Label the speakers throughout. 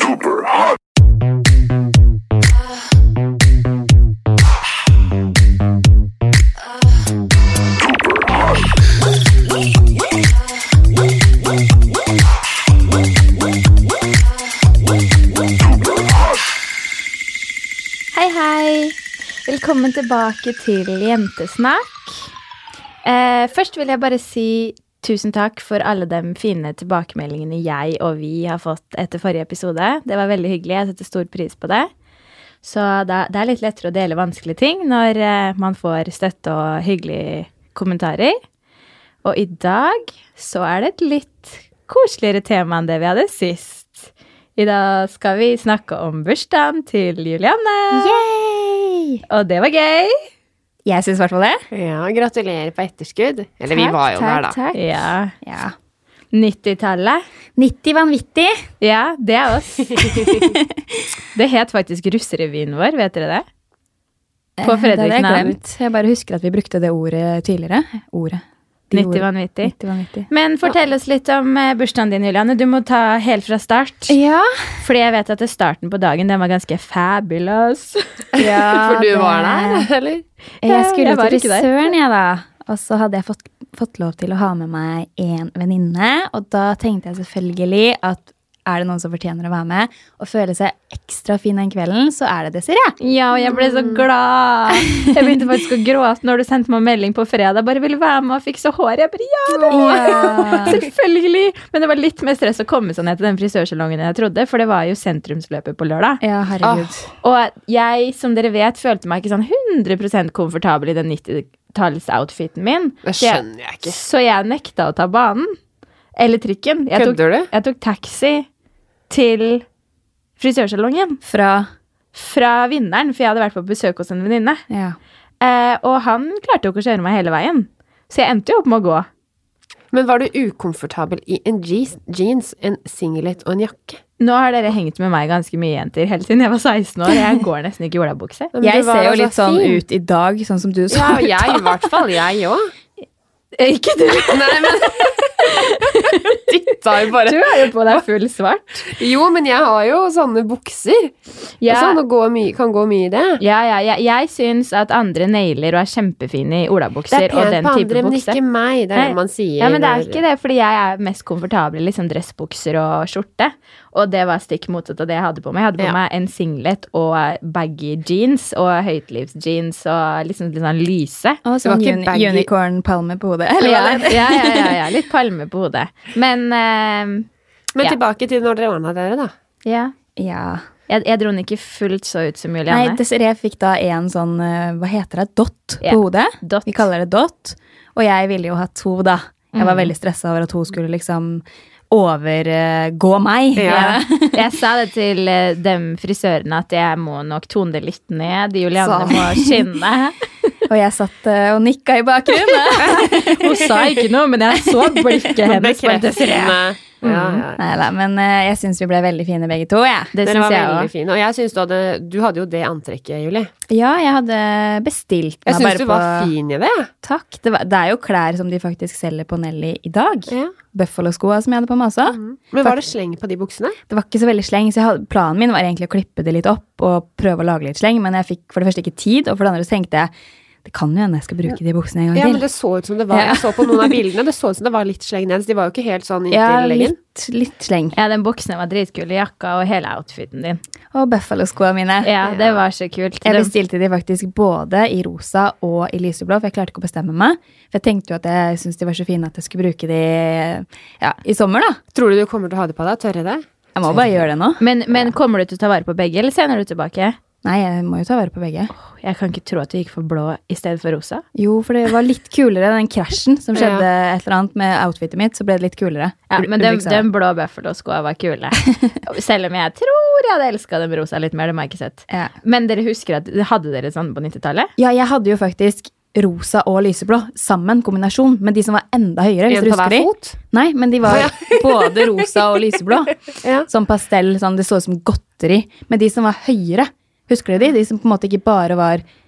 Speaker 1: duper hot. Duper hot.
Speaker 2: Hei, hei. Velkommen tilbake til Jentesnakk. Eh, først vil jeg bare si tusen takk for alle de fine tilbakemeldingene jeg og vi har fått etter forrige episode. Det var veldig hyggelig. Jeg setter stor pris på det. Så da, det er litt lettere å dele vanskelige ting når eh, man får støtte og hyggelige kommentarer. Og i dag så er det et litt koseligere tema enn det vi hadde sist. I dag skal vi snakke om bursdagen til Julianne.
Speaker 3: Yay!
Speaker 2: Og det var gøy.
Speaker 3: Jeg syns i hvert fall det.
Speaker 4: Ja, gratulerer på etterskudd. Eller vi
Speaker 3: Takk,
Speaker 4: var jo
Speaker 3: takk,
Speaker 4: der, da.
Speaker 3: takk.
Speaker 2: Ja.
Speaker 3: Ja.
Speaker 2: 90-tallet.
Speaker 3: 90 vanvittig.
Speaker 2: Ja, det er oss. det het faktisk russerevyen vår, vet dere det? På
Speaker 3: Eh, Det hadde jeg
Speaker 2: Fredriksen.
Speaker 3: glemt. Jeg bare husker at vi brukte det ordet tidligere. Ordet. De
Speaker 2: 90
Speaker 3: ordene.
Speaker 2: vanvittig.
Speaker 3: 90 vanvittig.
Speaker 2: Men fortell oss litt om eh, bursdagen din, Julianne. Du må ta helt fra start.
Speaker 3: Ja.
Speaker 2: Fordi jeg vet at det starten på dagen den var ganske fabulous.
Speaker 4: For du
Speaker 3: det-
Speaker 4: var der, eller?
Speaker 3: Eh, Jeg
Speaker 2: Jeg
Speaker 3: skulle
Speaker 2: var
Speaker 3: til
Speaker 2: ikke der.
Speaker 3: frisøren, jeg, da. Og så hadde jeg fått, fått lov til å ha med meg en venninne. Og da tenkte jeg selvfølgelig at er det noen som fortjener å være med og føle seg ekstra fin den kvelden, så er det Desiree.
Speaker 2: Ja, og jeg ble så
Speaker 4: Mm.
Speaker 2: glad. Jeg begynte faktisk å gråte når du sendte meg melding på fredag. Bare ville være med og fikse håret. Jeg bare, ja, det må jeg.
Speaker 3: Ja.
Speaker 2: Selvfølgelig! Men det var litt mer stress å komme seg ned til den frisørsalongen enn jeg trodde, for det var jo sentrumsløpet på lørdag.
Speaker 3: ja, herregud.
Speaker 4: Ah.
Speaker 2: Og jeg, som dere vet, følte meg ikke sånn 100 komfortabel i den 90-tallsoutfiten min.
Speaker 4: Det
Speaker 2: Så jeg-
Speaker 4: skjønner jeg ikke.
Speaker 2: Så jeg nekta å ta banen. Eller trikken. Jeg tok,
Speaker 4: Kødder du?
Speaker 2: jeg tok taxi til frisørsalongen
Speaker 3: Fra
Speaker 2: fra vinneren, for jeg hadde vært på besøk hos en venninne.
Speaker 3: Ja.
Speaker 2: Eh, og han klarte jo ikke å kjøre meg hele veien, så jeg endte jo opp med å gå.
Speaker 4: Men var du ukomfortabel i en jeans, jeans en singlet og en jakke?
Speaker 2: Nå har dere hengt med meg ganske mye, jenter, helt siden jeg var 16 år. Jeg går nesten ikke i olabukse.
Speaker 4: Men
Speaker 3: Jeg
Speaker 4: du var
Speaker 3: ser jo
Speaker 4: altså
Speaker 3: litt sånn
Speaker 4: fin.
Speaker 3: ut i dag, sånn som du
Speaker 4: Ja,
Speaker 3: så ut.
Speaker 4: jeg i hvert fall. Jeg òg.
Speaker 2: Ikke du!
Speaker 4: Nei, men Dytta jo
Speaker 2: Du
Speaker 4: bare
Speaker 2: har jo på deg full svart.
Speaker 4: Jo, men jeg har jo sånne bukser. Og sånn, og går mye, kan gå mye i det.
Speaker 2: ja, ja, ja. Jeg syns at andre nailer og er kjempefine i
Speaker 4: Det
Speaker 2: olabukser
Speaker 4: er
Speaker 2: og
Speaker 4: pent
Speaker 2: den
Speaker 4: på
Speaker 2: type
Speaker 4: andre, men
Speaker 2: bukse.
Speaker 4: ikke meg. Det
Speaker 2: Nei.
Speaker 4: er det man sier.
Speaker 2: Ja, men det er
Speaker 4: når-
Speaker 2: ikke det, fordi jeg er mest komfortabel i liksom dressbukser og skjorte. Og det var stikk motsatt av det jeg hadde på meg. Jeg hadde på
Speaker 4: Ja.
Speaker 2: meg en singlet og baggy jeans og høytlivsjeans og liksom litt sånn lyse.
Speaker 3: Og
Speaker 4: Det var
Speaker 3: sånn
Speaker 4: ikke
Speaker 3: uni
Speaker 4: baggy.
Speaker 3: unicorn-palme på hodet. Eller
Speaker 2: Ja,
Speaker 3: hva det
Speaker 2: ja, ja, ja, ja. Litt palme på hodet. Men eh,
Speaker 4: Men
Speaker 2: Ja.
Speaker 4: tilbake til når dere ordna dere, da.
Speaker 2: ja.
Speaker 3: er. Ja.
Speaker 2: Jeg, jeg dro den ikke fullt så ut som
Speaker 3: Nei,
Speaker 2: Julianne.
Speaker 3: Desiree fikk da en sånn eh, Hva heter det? Dott på
Speaker 2: Ja,
Speaker 3: hodet.
Speaker 2: dott.
Speaker 3: Vi kaller det dott. Og jeg ville jo ha to, da. Jeg var veldig stressa over at hun skulle liksom overgå meg.
Speaker 4: Ja.
Speaker 2: Jeg sa det til eh, dem frisørene at jeg må nok tone det litt ned. Julianne
Speaker 4: Sa-
Speaker 2: må skinne.
Speaker 3: Og jeg satt eh, og nikka i bakgrunnen.
Speaker 2: Hun sa ikke noe, men jeg så blikket hennes. på Desiree.
Speaker 4: Bekreftende. Ja, ja.
Speaker 3: Nei da, men eh, jeg syns vi ble veldig fine begge to, jeg.
Speaker 2: Det
Speaker 4: Dere
Speaker 2: syns
Speaker 4: var
Speaker 2: jeg
Speaker 4: veldig
Speaker 2: òg.
Speaker 4: fine. Og jeg syns du hadde Du hadde jo det antrekket, Julie.
Speaker 3: Ja, jeg hadde bestilt meg
Speaker 4: Jeg syns
Speaker 3: bare
Speaker 4: du
Speaker 3: på
Speaker 4: var fin i det.
Speaker 3: Takk. Det, var, det er jo klær som de faktisk selger på Nelly i dag.
Speaker 4: Ja.
Speaker 3: Buffalo-skoa som jeg hadde på meg også.
Speaker 4: Mm. Men var det sleng på de buksene?
Speaker 3: Det var ikke så veldig sleng, så jeg hadde, planen min var egentlig å klippe det litt opp og prøve å lage litt sleng, men jeg fikk for det første ikke tid, og for det andre så tenkte jeg det kan jo hende jeg skal bruke de buksene en gang
Speaker 4: Ja, men
Speaker 3: til.
Speaker 4: det så ut som det var
Speaker 3: Ja.
Speaker 4: Jeg så på noen av bildene, det så ut som det var litt sleng ned. Så de var jo ikke helt sånn inntil
Speaker 3: Ja,
Speaker 4: leggen.
Speaker 3: litt, litt sleng.
Speaker 2: Ja, den buksen var dritkul, jakka og hele outfiten din.
Speaker 3: Og Buffalo-skoa mine.
Speaker 2: Ja, det var så kult.
Speaker 3: Jeg
Speaker 2: Den-
Speaker 3: bestilte de faktisk både i rosa og i lyseblå, for jeg klarte ikke å bestemme meg. For jeg tenkte jo at jeg syntes de var så fine at jeg skulle bruke de ja, i sommer, da.
Speaker 4: Tror du du kommer til å ha det på deg? Tørre det?
Speaker 3: Jeg må bare gjøre det nå.
Speaker 2: Men, men kommer du til å ta vare på begge, eller sender du tilbake?
Speaker 3: Nei, jeg må jo ta vare på begge.
Speaker 2: Jeg kan ikke tro at du gikk for blå i stedet for rosa.
Speaker 3: Jo, for det var litt kulere, den krasjen som
Speaker 4: Ja.
Speaker 3: skjedde et eller annet med outfitet mitt, så ble det litt kulere.
Speaker 2: Ja,
Speaker 3: Ul-
Speaker 2: men den,
Speaker 3: Ulriksa.
Speaker 2: den blå buffalo-skoa var kule. Selv om jeg tror jeg hadde elska den rosa litt mer, det må jeg ikke sett.
Speaker 3: Ja.
Speaker 2: Men dere husker at hadde dere sånn på 90-tallet?
Speaker 3: Ja, jeg hadde jo faktisk rosa og lyseblå sammen, kombinasjon, men de som var enda høyere, hvis
Speaker 4: En
Speaker 3: du
Speaker 4: på
Speaker 3: husker
Speaker 4: hver
Speaker 3: de.
Speaker 4: fot?
Speaker 3: Nei, men de var både rosa og lyseblå.
Speaker 4: Ja.
Speaker 3: Sånn pastell, sånn, det så ut som godteri. Men de som var høyere, husker du de? De som på en måte ikke bare var de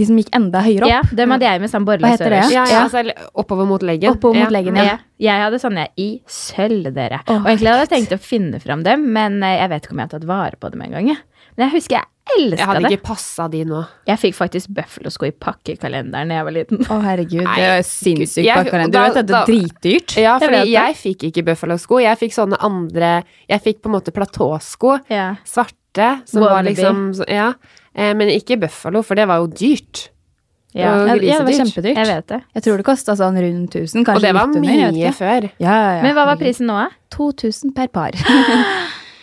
Speaker 3: de som gikk enda høyere opp.
Speaker 2: Ja, dem hadde jeg med sånn
Speaker 3: Hva heter det?
Speaker 2: borreløs
Speaker 4: Ja, ja,
Speaker 3: Ja.
Speaker 4: altså, eller oppover mot leggen.
Speaker 3: Oppover mot leggen,
Speaker 2: Ja. Jeg hadde sånne i sølv, dere. og egentlig hadde jeg tenkt å finne fram dem, men eh, jeg vet ikke om jeg har tatt vare på dem engang. jeg. Men jeg husker jeg
Speaker 4: Jeg
Speaker 2: elska
Speaker 4: hadde
Speaker 2: det.
Speaker 4: ikke passa de nå.
Speaker 2: Jeg fikk faktisk bøffelosko i pakkekalenderen da jeg var liten.
Speaker 3: Å, herregud.
Speaker 4: Nei,
Speaker 3: Det er jo sinnssykt
Speaker 4: jeg-
Speaker 3: pakkekalender.
Speaker 4: da-
Speaker 3: Du vet at det er dritdyrt.
Speaker 4: Ja,
Speaker 2: Jeg
Speaker 4: fordi
Speaker 2: vet
Speaker 4: jeg,
Speaker 2: det.
Speaker 4: fikk ikke Buffalo-sko. Jeg fikk sånne andre Jeg fikk på en måte platåsko.
Speaker 2: Ja.
Speaker 4: Svarte. Som var
Speaker 2: Wannabe.
Speaker 4: liksom så- Ja. Eh, Men ikke Buffalo, for det var jo dyrt.
Speaker 2: Ja.
Speaker 4: Og
Speaker 3: Ja, det var
Speaker 4: grisedyrt.
Speaker 3: kjempedyrt.
Speaker 2: Jeg vet det.
Speaker 3: Jeg tror det kosta sånn rundt 1000, kanskje
Speaker 4: Og det var
Speaker 3: litt under. jeg vet
Speaker 4: mye
Speaker 3: ikke.
Speaker 4: før.
Speaker 3: Ja, ja, ja.
Speaker 2: Men hva var prisen nå, da?
Speaker 3: 2000 per par.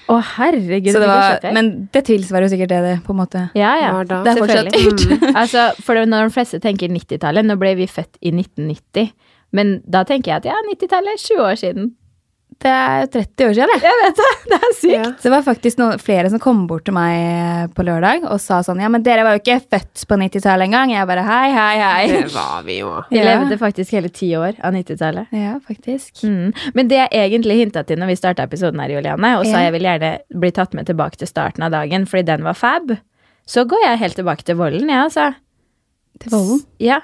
Speaker 2: Å, herregud.
Speaker 3: Så det
Speaker 2: fikk jeg
Speaker 3: var,
Speaker 2: kjøpe.
Speaker 3: men det tilsvarer jo sikkert det, det, på en måte.
Speaker 2: ja, ja.
Speaker 4: Var da.
Speaker 3: Det er fortsatt
Speaker 2: Selvfølgelig.
Speaker 3: dyrt.
Speaker 2: altså, for det, når de fleste tenker 90-tallet Nå ble vi født i 1990. Men da tenker jeg at ja, 90-tallet er 20 år siden.
Speaker 3: Det er jo 30 år siden, det.
Speaker 2: Jeg vet det! Det er sykt.
Speaker 4: Ja.
Speaker 3: Så det var faktisk noen, flere som kom bort til meg eh, på lørdag og sa sånn Ja, men dere var jo ikke født på 90-tallet engang. Jeg bare hei, hei, hei.
Speaker 4: Det var vi jo.
Speaker 2: Vi
Speaker 3: Ja.
Speaker 2: levde faktisk hele ti år av 90-tallet.
Speaker 3: Ja, faktisk.
Speaker 2: Mm. Men det jeg egentlig hinta til når vi starta episoden her, Juliane, og sa
Speaker 3: Ja.
Speaker 2: jeg vil gjerne bli tatt med tilbake til starten av dagen fordi den var fab, så går jeg helt tilbake til volden, jeg, altså.
Speaker 3: Til Vollen.
Speaker 2: Ja.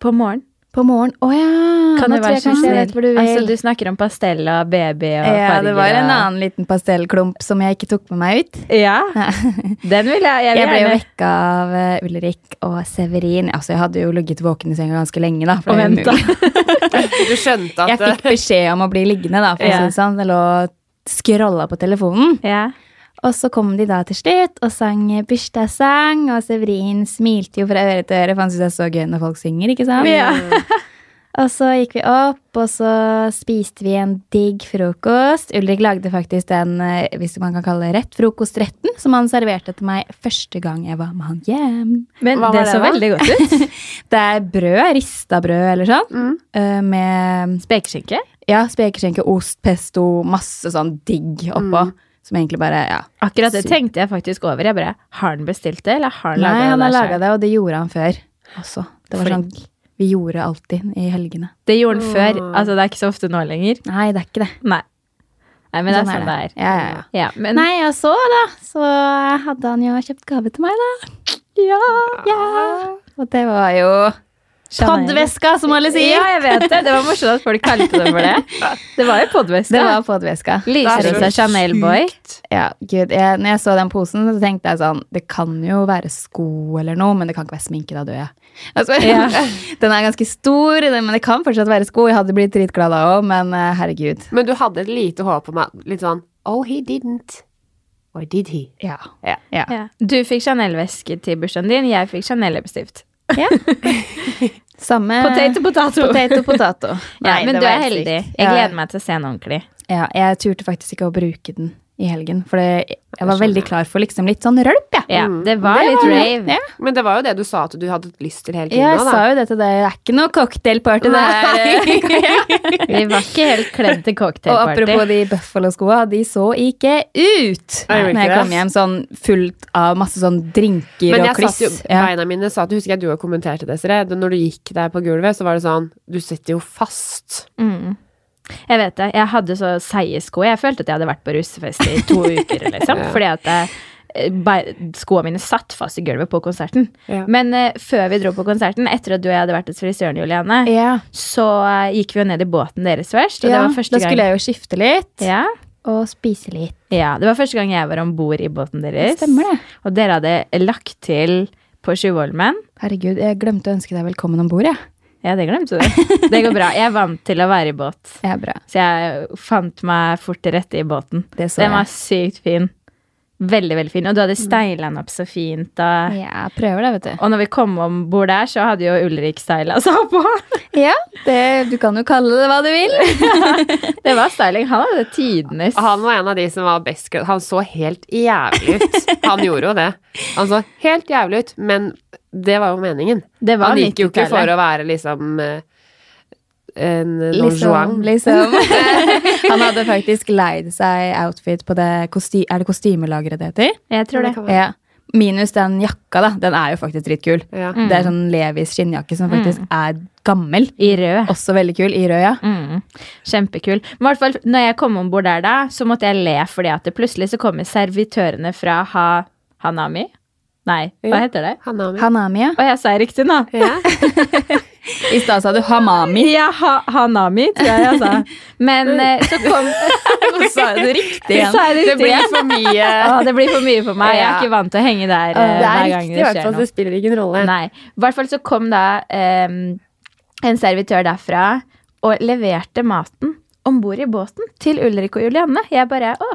Speaker 2: På morgen.
Speaker 3: På morgen. Å ja.
Speaker 2: Kan
Speaker 3: nå
Speaker 2: du
Speaker 3: tror
Speaker 2: være
Speaker 3: jeg
Speaker 2: så
Speaker 3: kanskje jeg
Speaker 2: snill?
Speaker 3: vet hvor du vil.
Speaker 2: Altså, du snakker om pastell og baby og
Speaker 3: ja, det var
Speaker 2: farger
Speaker 3: en
Speaker 2: og-
Speaker 3: annen liten pastellklump som jeg ikke tok med meg ut.
Speaker 2: Ja. Den vil jeg. Jeg, vil
Speaker 3: Jeg ble jo
Speaker 2: gjerne-
Speaker 3: vekka av eh, Ulrik og Severin. Altså, jeg hadde jo ligget våken i senga ganske lenge, da. for
Speaker 2: Og
Speaker 3: det er
Speaker 2: venta.
Speaker 3: umulig.
Speaker 4: Du skjønte at
Speaker 3: Jeg fikk beskjed om å bli liggende, da, for å
Speaker 2: Ja.
Speaker 3: si det sånn. Jeg lå og scrolla på telefonen.
Speaker 2: Ja.
Speaker 3: Og så kom de da til slutt og sang bursdagssang, og Severin smilte jo fra øre til øre, for han syntes det er så gøy når folk synger, ikke sant?
Speaker 2: Ja.
Speaker 3: Og så gikk vi opp, og så spiste vi en digg frokost. Ulrik lagde faktisk den, eh, hvis man kan kalle det rett, frokostretten, som han serverte til meg første gang jeg var med han hjem.
Speaker 2: Men
Speaker 4: Hva var
Speaker 2: det
Speaker 4: det
Speaker 2: så
Speaker 4: da?
Speaker 2: veldig godt ut.
Speaker 3: Det er brød, rista brød eller sånn,
Speaker 2: Mm.
Speaker 3: eh, med
Speaker 2: Spekeskinke.
Speaker 3: ja, spekeskinke, ost, pesto, masse sånn digg oppå. Som egentlig bare, ja.
Speaker 2: Akkurat det
Speaker 3: Sykt.
Speaker 2: tenkte jeg faktisk over. Jeg bare, Har han bestilt det, eller har han laga det?
Speaker 3: Nei, han har
Speaker 2: der
Speaker 3: laga
Speaker 2: selv?
Speaker 3: det, og det gjorde han før også. Det var sånn vi gjorde alltid i helgene.
Speaker 2: Det gjorde han før. Altså, det er ikke så ofte nå lenger.
Speaker 3: Nei, det er ikke det.
Speaker 2: Nei. Nei, men det er sånn det er.
Speaker 3: Ja, ja, ja.
Speaker 2: Ja, men
Speaker 3: Nei, og så da, så hadde han jo kjøpt gave til meg, da.
Speaker 2: ja.
Speaker 3: Og det var jo
Speaker 2: Chanel.
Speaker 3: Podveska, som alle sier.
Speaker 2: Ja, jeg vet det. Det var morsomt at folk kalte det for det. Det var jo podveska.
Speaker 3: Det var podveska.
Speaker 2: Lyser
Speaker 4: Det
Speaker 2: ut
Speaker 4: er
Speaker 2: av
Speaker 4: så
Speaker 2: Chanel-boy.
Speaker 3: Ja, gud, jeg, når jeg så den posen, så tenkte jeg sånn Det kan jo være sko eller noe, men det kan ikke være sminke, da dør jeg. Altså,
Speaker 2: Ja.
Speaker 3: Den er ganske stor, den- men det kan fortsatt være sko. Jeg hadde blitt dritglad da òg, men eh, herregud.
Speaker 4: Men du hadde et lite håp om at Litt sånn Oh, he didn't. Or did he?
Speaker 3: Ja.
Speaker 4: Ja.
Speaker 3: ja.
Speaker 2: Du fikk Chanel-veske til bursdagen din, jeg fikk Chanel-leppestift.
Speaker 3: Samme
Speaker 2: Potato, potato.
Speaker 3: Eh, Potato, potato.
Speaker 2: Ja,
Speaker 3: Nei,
Speaker 2: men
Speaker 3: det
Speaker 2: du
Speaker 3: var
Speaker 2: er
Speaker 3: helt
Speaker 2: heldig.
Speaker 3: sykt.
Speaker 2: Jeg
Speaker 3: Ja.
Speaker 2: gleder meg til å se den ordentlig.
Speaker 3: Ja, jeg turte faktisk ikke å bruke den i helgen, for det, jeg var
Speaker 4: skjønner
Speaker 3: veldig klar for liksom litt sånn rølp, jeg.
Speaker 2: Ja, det var
Speaker 4: Det
Speaker 2: litt
Speaker 4: var det.
Speaker 2: rave.
Speaker 3: Ja.
Speaker 4: Men det var jo det du sa at du hadde lyst til hele tiden.
Speaker 3: Jeg
Speaker 4: nå,
Speaker 3: sa jo det til deg, det er ikke noe cocktailparty det her.
Speaker 2: Vi var ikke helt kledd til
Speaker 3: Og apropos
Speaker 2: cocktailparty.
Speaker 3: de Buffalo-skoa, de så ikke ut
Speaker 4: Nei, gjorde
Speaker 3: når jeg
Speaker 4: ikke
Speaker 3: kom
Speaker 4: det.
Speaker 3: hjem sånn fullt av masse sånn drinker
Speaker 4: Men
Speaker 3: og
Speaker 4: jeg
Speaker 3: kliss.
Speaker 4: satt jo,
Speaker 3: Ja.
Speaker 4: beina mine sa at husker jeg du har kommentert det, Desiree. da Når du gikk der på gulvet, så var det sånn Du sitter jo fast.
Speaker 2: Mm. Jeg vet det. Jeg hadde så seige sko. Jeg følte at jeg hadde vært på russefest i to uker. Liksom, Fordi at jeg, eh, bei- skoene mine satt fast i gulvet på konserten.
Speaker 4: Ja.
Speaker 2: Men eh, før vi dro på konserten, etter at du og jeg hadde vært hos frisøren, Juliane,
Speaker 3: ja.
Speaker 2: så eh, gikk vi jo ned i båten deres først. Og
Speaker 3: ja,
Speaker 2: det var første
Speaker 3: da skulle
Speaker 2: gang
Speaker 3: jeg jo skifte litt
Speaker 2: ja,
Speaker 3: og spise litt.
Speaker 2: ja, det var første gang jeg var om bord i båten deres.
Speaker 3: Stemmer det.
Speaker 2: Og dere hadde lagt til på Sjuvholmen.
Speaker 3: Herregud, jeg glemte å ønske deg velkommen om bord, jeg.
Speaker 2: Ja, det glemte du. Det går bra. Jeg er vant til å være i båt.
Speaker 3: Ja. bra.
Speaker 2: Så jeg fant meg fort til rette i båten.
Speaker 3: Det så
Speaker 2: Den var
Speaker 3: jeg.
Speaker 2: sykt fin. Veldig, veldig fin. Og du hadde styla den opp så fint. Og,
Speaker 3: Ja, prøver det, vet du.
Speaker 2: og når vi kom om bord der, så hadde jo Ulrik styla seg på.
Speaker 3: Ja, det, du kan jo kalle det hva du vil.
Speaker 2: Det var styling. Han hadde tidenes.
Speaker 4: Han var en av de som var best kledd. Han så helt jævlig ut. Han gjorde jo det. Han så helt jævlig ut, men det var jo meningen.
Speaker 2: Det var
Speaker 4: Han gikk jo ikke
Speaker 2: 90-tallet.
Speaker 4: for å være liksom eh, en Don
Speaker 3: Liksom,
Speaker 4: Juan.
Speaker 3: liksom. Han hadde faktisk leid seg outfit på det kosty Er det kostymelageret det heter?
Speaker 2: Jeg tror det.
Speaker 4: kan være.
Speaker 3: Ja. Minus den jakka, da. Den er jo faktisk dritkul.
Speaker 4: Ja.
Speaker 3: Det er sånn Levis skinnjakke som faktisk er gammel.
Speaker 2: I rød.
Speaker 3: Også veldig kul i rød, ja.
Speaker 2: Mm. Kjempekul. Men i hvert fall, når jeg kom om bord der, da, så måtte jeg le fordi at det plutselig så kommer servitørene fra ha Hanami. Nei,
Speaker 4: Ja.
Speaker 2: hva heter det?
Speaker 4: Hanami.
Speaker 3: Hanami, ja.
Speaker 2: Å, jeg sa riktig nå.
Speaker 4: Ja.
Speaker 3: I stad sa du hamami.
Speaker 2: Ja, ha, Hanami, tror jeg jeg sa. Men eh, så kom
Speaker 3: Nå sa du riktig
Speaker 2: så
Speaker 3: igjen.
Speaker 2: sa jeg
Speaker 4: Det
Speaker 2: riktig.
Speaker 4: blir for mye.
Speaker 2: Å, det blir for mye for meg. Jeg er
Speaker 4: Ja.
Speaker 2: ikke vant til å henge der eh,
Speaker 4: Det er
Speaker 2: hver gang
Speaker 4: riktig, i
Speaker 2: det
Speaker 4: hvert
Speaker 2: skjer
Speaker 4: fall.
Speaker 2: noe.
Speaker 4: Det spiller ingen rolle.
Speaker 2: Nei. I hvert fall så kom da eh, en servitør derfra og leverte maten om bord i båten til Ulrik og Julianne. Jeg bare Å,